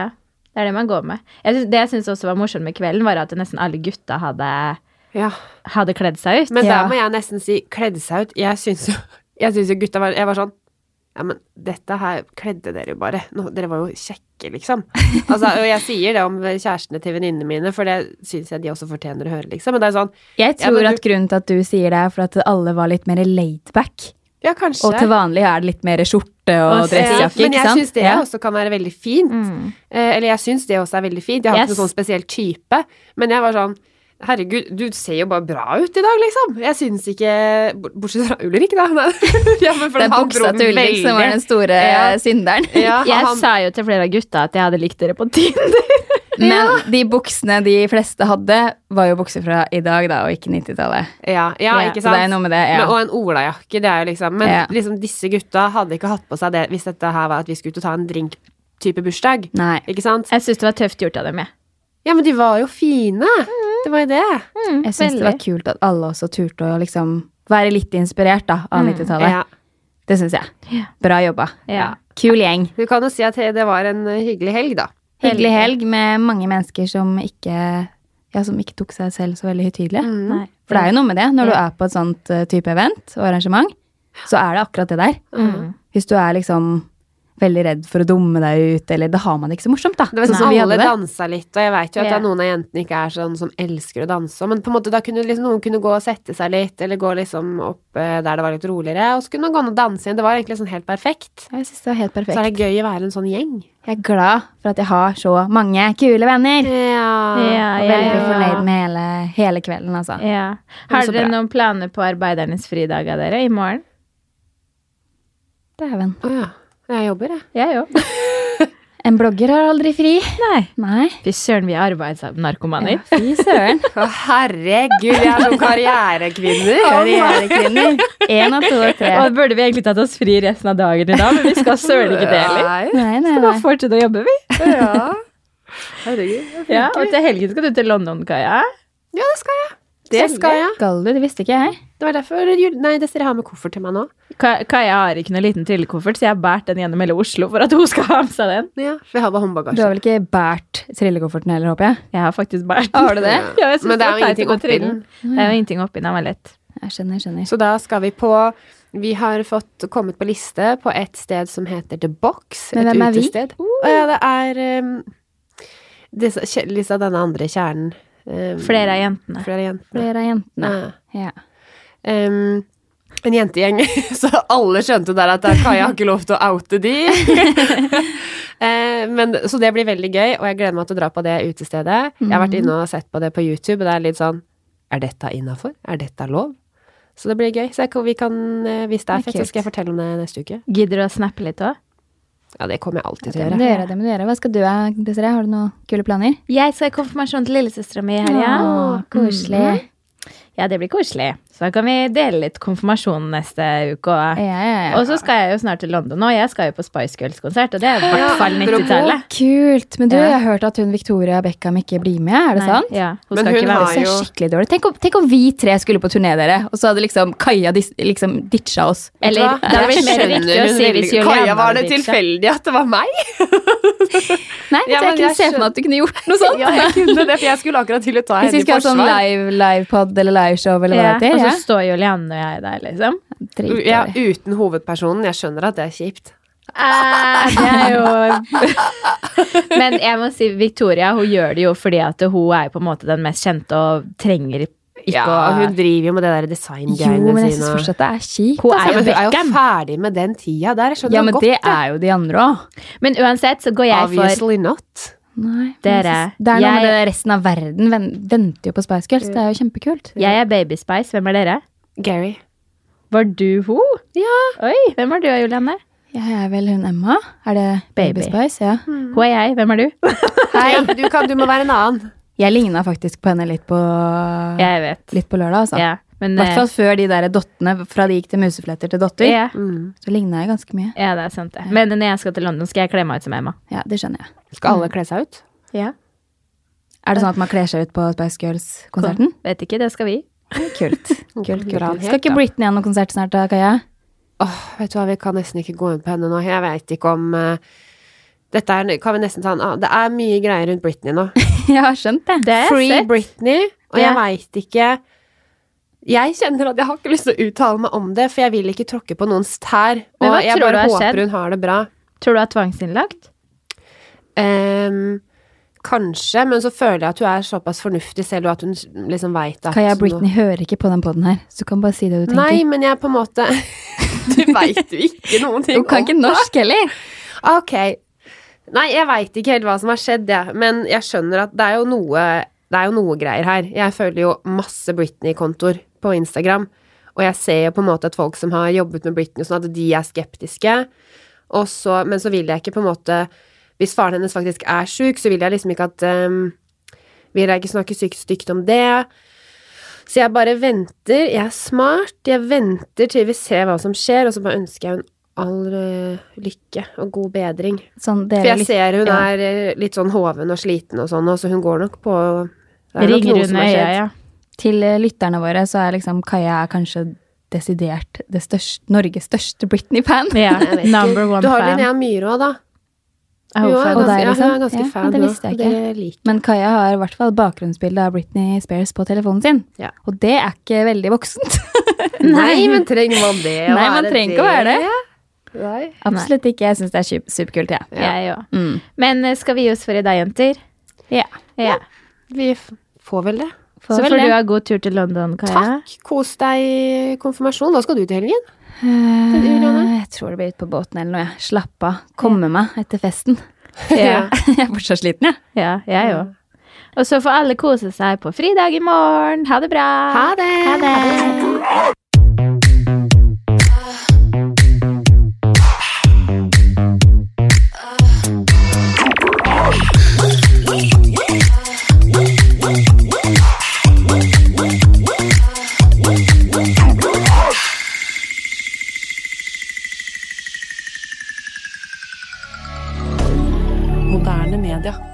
Speaker 2: er det man går med. Jeg synes, det jeg syns også var morsomt med kvelden, var at nesten alle gutta hadde,
Speaker 4: ja.
Speaker 2: hadde kledd seg ut.
Speaker 4: Men
Speaker 3: Ja.
Speaker 4: der må jeg nesten si kledd seg ut. Jeg syns jo, jeg syns jo gutta var Jeg var sånn Ja, men dette her kledde dere jo bare. Nå, dere var jo kjekke, liksom. Altså, og jeg sier det om kjærestene til venninnene mine, for det syns jeg de også fortjener å høre, liksom. Men det er sånn
Speaker 3: Jeg
Speaker 4: Ja,
Speaker 3: tror
Speaker 4: men du-
Speaker 3: at grunnen til at du sier det, er for at alle var litt mer laidback.
Speaker 4: Ja, kanskje.
Speaker 3: Og til vanlig er det litt mer skjorte og
Speaker 2: Og
Speaker 3: dressjakke,
Speaker 4: Men
Speaker 3: ikke
Speaker 4: jeg
Speaker 3: sant?
Speaker 4: syns det altså.
Speaker 3: Ja. Mm.
Speaker 4: også kan være veldig fint. Eh, eller jeg syns det også er veldig fint. Jeg har
Speaker 2: Yes.
Speaker 4: ikke noen sånn spesiell type. Men jeg var sånn Herregud, du ser jo bare bra ut i dag, liksom. Jeg syns ikke bort- Bortsett fra Ulrik, da. Men, ja, men for
Speaker 3: Det er
Speaker 4: han dro
Speaker 3: buksa
Speaker 4: den
Speaker 3: til Ulrik som var
Speaker 4: veldig-
Speaker 3: den store
Speaker 4: Ja.
Speaker 3: synderen.
Speaker 4: ja,
Speaker 2: Jeg
Speaker 4: han,
Speaker 2: sa jo til flere av gutta at jeg hadde likt dere på Tinder.
Speaker 3: Men de buksene de fleste hadde, var jo bukser fra i dag, da, og ikke 90-tallet.
Speaker 4: ja, ja, ikke
Speaker 3: Så det er
Speaker 4: sant?
Speaker 3: noe med det. Ja.
Speaker 4: Men, og en olajakke, det er jo liksom Men
Speaker 3: Ja.
Speaker 4: liksom, disse gutta hadde ikke hatt på seg det hvis dette her var at vi skulle ut og ta en drink-type bursdag.
Speaker 3: Nei.
Speaker 4: Ikke sant?
Speaker 2: Jeg syns det var tøft gjort av dem, jeg.
Speaker 4: Ja, men de var jo fine!
Speaker 3: Mm.
Speaker 4: Det var jo det.
Speaker 2: Mm,
Speaker 3: Jeg syns det var kult at alle også turte å liksom være litt inspirert da, av 90-tallet.
Speaker 4: Mm, Ja.
Speaker 3: Det syns jeg. Bra jobba.
Speaker 2: Ja.
Speaker 3: Kul gjeng.
Speaker 4: Du kan jo si at det var en eh, hyggelig helg, da.
Speaker 3: Hyggelig helg med mange mennesker som ikke, ja, som ikke tok seg selv så veldig høytidelig.
Speaker 4: Mm.
Speaker 2: Nei.
Speaker 3: For det er jo noe med det. Når du er på et sånt eh, type event og arrangement, så er det akkurat det der.
Speaker 2: Mm.
Speaker 4: Mm.
Speaker 3: Hvis du er liksom veldig redd for å dumme deg ut, eller da har man det ikke så morsomt, da.
Speaker 4: Det var
Speaker 3: Sånn
Speaker 4: sånn
Speaker 3: som vi
Speaker 4: Alle
Speaker 3: hadde det.
Speaker 4: dansa litt, og jeg vet jo at det
Speaker 2: Ja.
Speaker 4: er noen av jentene ikke er sånn som elsker å danse, men på en måte da kunne liksom, noen kunne gå og sette seg litt, eller gå liksom opp eh, der det var litt roligere, og så kunne man gå ned og danse igjen. Det var egentlig sånn helt perfekt.
Speaker 3: Ja, Jeg synes det var helt
Speaker 4: Så er
Speaker 3: perfekt.
Speaker 4: det gøy å være en sånn gjeng.
Speaker 3: Jeg er glad for at jeg har så mange kule venner.
Speaker 4: Ja.
Speaker 3: Og veldig fornøyd med hele, hele kvelden, altså.
Speaker 2: Ja.
Speaker 3: var
Speaker 2: Har
Speaker 3: så
Speaker 2: dere
Speaker 3: bra.
Speaker 2: noen planer på arbeidernes fridag av dere i morgen?
Speaker 3: Dæven.
Speaker 4: Å ja. Jeg jobber, jeg.
Speaker 2: Jeg òg.
Speaker 3: En blogger har aldri fri.
Speaker 2: Nei.
Speaker 3: Nei.
Speaker 2: Fy søren, vi er arbeidsnarkomane.
Speaker 3: Ja, fy søren.
Speaker 4: Å herregud, jeg er sånn karrierekvinner.
Speaker 3: Karrierekvinner. Én av to og tre.
Speaker 2: Og burde vi egentlig tatt oss fri resten av dagen i dag, men vi skal søren ikke det heller.
Speaker 3: Nei, nei,
Speaker 2: Vi
Speaker 3: nei.
Speaker 2: bare fortsette å jobbe, vi.
Speaker 4: Ja. Herregud.
Speaker 2: Ja, og til helgen skal du til London, Kaja.
Speaker 4: Ja, det skal jeg. Det skal jeg.
Speaker 3: Skal du? Det visste ikke jeg.
Speaker 4: Det var derfor jul- Nei, dessverre, jeg har med koffert til meg nå.
Speaker 2: Ka- Kaja har ikke noen liten trillekoffert, så jeg har båret den gjennom hele Oslo for at hun skal ha med seg den.
Speaker 4: Ja, for jeg har bare
Speaker 3: Du
Speaker 4: håndbagasje.
Speaker 3: har vel ikke båret trillekofferten heller, håper jeg?
Speaker 2: Jeg har faktisk båret den.
Speaker 3: Har du det?
Speaker 2: Ja, jeg synes
Speaker 4: Men det er
Speaker 2: var
Speaker 4: jo
Speaker 2: teit å
Speaker 4: ingenting
Speaker 2: gå
Speaker 4: oppi den.
Speaker 2: trillen. Det er jo ingenting oppi den, den var lett.
Speaker 3: Jeg skjønner, jeg skjønner.
Speaker 4: Så da skal vi på Vi har fått kommet på liste på et sted som heter The Box.
Speaker 3: Men
Speaker 4: et
Speaker 3: hvem er vi?
Speaker 4: utested. Å Ja, det er um, disse, kje- disse av denne andre kjernen. Um,
Speaker 2: Flere av jentene.
Speaker 4: flere jentene.
Speaker 3: Flere av jentene.
Speaker 4: Ja.
Speaker 3: Ja.
Speaker 4: Um, en jentegjeng, så alle skjønte der at Kaja har ikke lov til å oute de. Eh, Men, så det blir veldig gøy, og jeg gleder meg til å dra på det utestedet. Jeg har vært inne og sett på det på YouTube, og det er litt sånn Er dette innafor? Er dette lov? Så det blir gøy. Så jeg, kan- vi kan, eh, hvis det er
Speaker 3: Det er
Speaker 4: fett, så skal jeg
Speaker 3: kult.
Speaker 4: fortelle om det neste uke.
Speaker 2: Gidder du å snappe litt òg?
Speaker 4: Ja, det kommer jeg alltid til
Speaker 3: Det må
Speaker 4: å gjøre.
Speaker 3: du gjøre, det må du gjøre. Hva skal du ha, Desiree? Har du noen kule planer?
Speaker 2: Jeg skal i konfirmasjon til lillesøstera mi i
Speaker 3: Å,
Speaker 4: mm,
Speaker 2: helga. mm-hmm.
Speaker 3: koselig.
Speaker 2: Ja, det blir koselig. Så da kan vi dele litt konfirmasjon neste uke. Og,
Speaker 3: Ja, ja, ja.
Speaker 2: og så skal jeg jo snart til London, og jeg skal jo på Spice Girls-konsert, og det er i hvert fall 90-tallet.
Speaker 3: Kult. Men du,
Speaker 2: Ja.
Speaker 3: jeg har hørt at hun Victoria Beckham ikke blir med, er det
Speaker 2: Nei,
Speaker 3: sant?
Speaker 2: Ja, hun
Speaker 4: Men
Speaker 2: skal
Speaker 4: hun
Speaker 2: ikke
Speaker 4: har
Speaker 2: være
Speaker 3: Det ser skikkelig dårlig Tenk om, tenk om vi tre skulle på turné, dere, og så hadde liksom Kaja dis, liksom ditcha oss.
Speaker 4: Vet du
Speaker 2: Eller,
Speaker 4: hva?
Speaker 2: det hadde
Speaker 4: Jeg
Speaker 2: vært mer
Speaker 4: skjønner
Speaker 2: riktig å
Speaker 4: hun
Speaker 2: si
Speaker 4: veldig
Speaker 2: hvis
Speaker 4: godt.
Speaker 2: Julianne
Speaker 4: Kaja, var det
Speaker 2: hadde ditcha.
Speaker 4: tilfeldig at det var meg?
Speaker 3: Nei,
Speaker 4: Ja,
Speaker 3: så jeg
Speaker 4: men
Speaker 3: kunne
Speaker 4: jeg
Speaker 3: se for meg at du kunne gjort noe sånt.
Speaker 4: Ja, jeg kunne det, for jeg skulle akkurat til å ta
Speaker 3: Hvis
Speaker 4: henne
Speaker 3: vi
Speaker 4: i
Speaker 3: skulle ha sånn
Speaker 4: forsvar.
Speaker 3: live, livepod eller liveshow eller hva
Speaker 2: Ja,
Speaker 3: det
Speaker 2: og så
Speaker 3: heter.
Speaker 2: står Julianne og jeg der, liksom.
Speaker 3: Ja. Dritdårlig.
Speaker 4: Ja, uten hovedpersonen. Jeg skjønner at det er kjipt.
Speaker 2: Eh, det er jo Men jeg må si Victoria hun gjør det jo fordi at hun er jo på en måte den mest kjente og trenger ikke
Speaker 4: Ja,
Speaker 2: å
Speaker 4: hun driver jo med det
Speaker 3: Jo,
Speaker 4: der design-greiene
Speaker 3: men jeg
Speaker 4: sine.
Speaker 3: syns
Speaker 4: og-
Speaker 3: fortsatt det er kjipt.
Speaker 2: Hun
Speaker 4: Ja,
Speaker 2: er jo
Speaker 4: men hun er jo
Speaker 2: Beckham.
Speaker 4: ferdig med den tida der. Jeg skjønner
Speaker 3: Ja, men
Speaker 4: godt
Speaker 3: det er jo de andre òg.
Speaker 2: Men uansett så går jeg for
Speaker 4: Obviously not.
Speaker 2: Dere,
Speaker 3: Det er noe med
Speaker 2: jeg-
Speaker 3: det resten av verden ven- venter jo på Spice Girls. Det er jo kjempekult.
Speaker 2: Jeg er Baby Spice. Hvem er dere?
Speaker 4: Gary.
Speaker 2: Var du hun?
Speaker 4: Ja.
Speaker 2: Oi, hvem er du, Julianne?
Speaker 3: Jeg er vel hun Emma? Er det Baby
Speaker 2: Baby. Hmm.
Speaker 3: Spice? Ja.
Speaker 2: Hun er jeg. Hvem er du?
Speaker 4: Mm. Ja, du, kan, du må være en annen.
Speaker 3: Jeg ligna faktisk på henne litt på,
Speaker 2: Jeg vet.
Speaker 3: litt på lørdag, altså.
Speaker 4: sånn.
Speaker 2: Ja, men
Speaker 3: I hvert fall før de der dottene, fra de gikk til musefletter til
Speaker 2: eh,
Speaker 3: dotter.
Speaker 2: ja.
Speaker 4: Mm.
Speaker 3: Så ligna jeg ganske mye.
Speaker 2: ja, det er sant, det. Men når jeg skal til London, skal jeg kle meg ut som Emma.
Speaker 3: Ja, det skjønner jeg.
Speaker 4: Skal alle kle seg ut?
Speaker 2: Ja.
Speaker 3: Er det sånn at man kler seg ut på Spice Girls-konserten?
Speaker 2: Vet ikke, det skal vi.
Speaker 3: Kult. kult, kult.
Speaker 4: Gran
Speaker 3: Skal
Speaker 4: helt, da.
Speaker 3: ikke Britney ha noen konsert snart, da, Kaja?
Speaker 4: Åh, vet du hva, vi kan nesten ikke gå inn på henne nå. Jeg veit ikke om eh, Dette er, kan vi nesten ta en annen Det er mye greier rundt Britney nå.
Speaker 3: Jeg har skjønt det.
Speaker 2: Det har jeg
Speaker 4: Free
Speaker 2: sett.
Speaker 4: Britney, og
Speaker 2: Ja.
Speaker 4: jeg veit ikke Jeg kjenner at jeg har ikke lyst til å uttale meg om det, for jeg vil ikke tråkke på noens tær.
Speaker 2: Men
Speaker 4: Og
Speaker 2: hva tror
Speaker 4: jeg
Speaker 2: du
Speaker 4: bare
Speaker 2: har
Speaker 4: håper
Speaker 2: skjedd?
Speaker 4: hun har det bra.
Speaker 2: Tror du hun er tvangsinnlagt?
Speaker 4: Ehm, kanskje, men så føler jeg at hun er såpass fornuftig selv, og at hun liksom veit at
Speaker 3: Kaja
Speaker 4: nå-
Speaker 3: Britney hører ikke på den poden her, så du kan bare si det du tenker.
Speaker 4: Nei, men jeg er på en måte Du veit jo ikke noen ting
Speaker 3: Hun kan ikke norsk heller.
Speaker 4: om Ok. Nei, jeg veit ikke helt hva som har skjedd, jeg. Men jeg skjønner at det er jo noe Det er jo noe greier her. Jeg følger jo masse Britney-kontoer på Instagram, og jeg ser jo på en måte at folk som har jobbet med Britney, og sånn at de er skeptiske. Og så, men så vil jeg ikke på en måte Hvis faren hennes faktisk er sjuk, så vil jeg liksom ikke at ehm, Vil jeg ikke snakke sykt stygt om det. Så jeg bare venter. Jeg er smart. Jeg venter til vi ser hva som skjer, og så bare ønsker jeg henne all eh, lykke og god bedring.
Speaker 3: Sånn,
Speaker 4: For
Speaker 3: dere
Speaker 4: jeg
Speaker 3: lytter
Speaker 4: ser hun
Speaker 3: ja.
Speaker 4: er eh, litt sånn hoven og sliten og sånn, og så hun går nok på det er nok
Speaker 2: Ringer
Speaker 4: noe som
Speaker 2: under
Speaker 4: har
Speaker 2: øya,
Speaker 4: skjedd.
Speaker 2: ja.
Speaker 3: til eh, lytterne våre, så er liksom Kaja er kanskje desidert det største, Norges største Britney-fan.
Speaker 2: ja.
Speaker 4: Jeg vet ikke.
Speaker 2: Number one
Speaker 4: Du har
Speaker 2: fan.
Speaker 4: Linnea Myhre òg, da.
Speaker 2: Er hun
Speaker 4: Hun
Speaker 2: fan?
Speaker 3: Og deg,
Speaker 4: er ganske, ja, hun er
Speaker 3: liksom?
Speaker 4: ganske
Speaker 3: Ja,
Speaker 4: fan.
Speaker 3: det
Speaker 4: nå,
Speaker 3: visste jeg
Speaker 4: og
Speaker 3: ikke.
Speaker 4: Det liker.
Speaker 3: Men Kaja har i hvert fall bakgrunnsbildet av Britney Spears på telefonen sin.
Speaker 4: Ja.
Speaker 3: Og det er ikke veldig voksent.
Speaker 4: Nei, men trenger man det? å
Speaker 3: Nei, man
Speaker 4: være
Speaker 3: trenger ikke å være det.
Speaker 4: Nei.
Speaker 3: Absolutt ikke. Jeg syns det er sup- superkult, jeg.
Speaker 4: Ja.
Speaker 2: Jeg òg.
Speaker 3: Mm.
Speaker 2: Men eh, skal vi gi oss for i dag, jenter?
Speaker 3: Ja.
Speaker 2: Ja.
Speaker 4: Vi f- får vel det.
Speaker 3: Får
Speaker 2: så
Speaker 3: vel
Speaker 2: får
Speaker 3: det.
Speaker 2: du ha god tur til London, Kaja.
Speaker 4: Takk. Kos deg i konfirmasjon. Hva skal du til helgen?
Speaker 3: Eh,
Speaker 4: Juliane?
Speaker 3: Jeg tror det blir ut på båten eller noe. jeg. Slapp av. Komme meg etter festen.
Speaker 2: Ja.
Speaker 3: jeg er fortsatt sliten, jeg.
Speaker 2: Ja, jeg òg. Og så får alle kose seg på fridag i morgen. Ha det bra.
Speaker 4: Ha det!
Speaker 2: Ha det.
Speaker 5: Moderne media.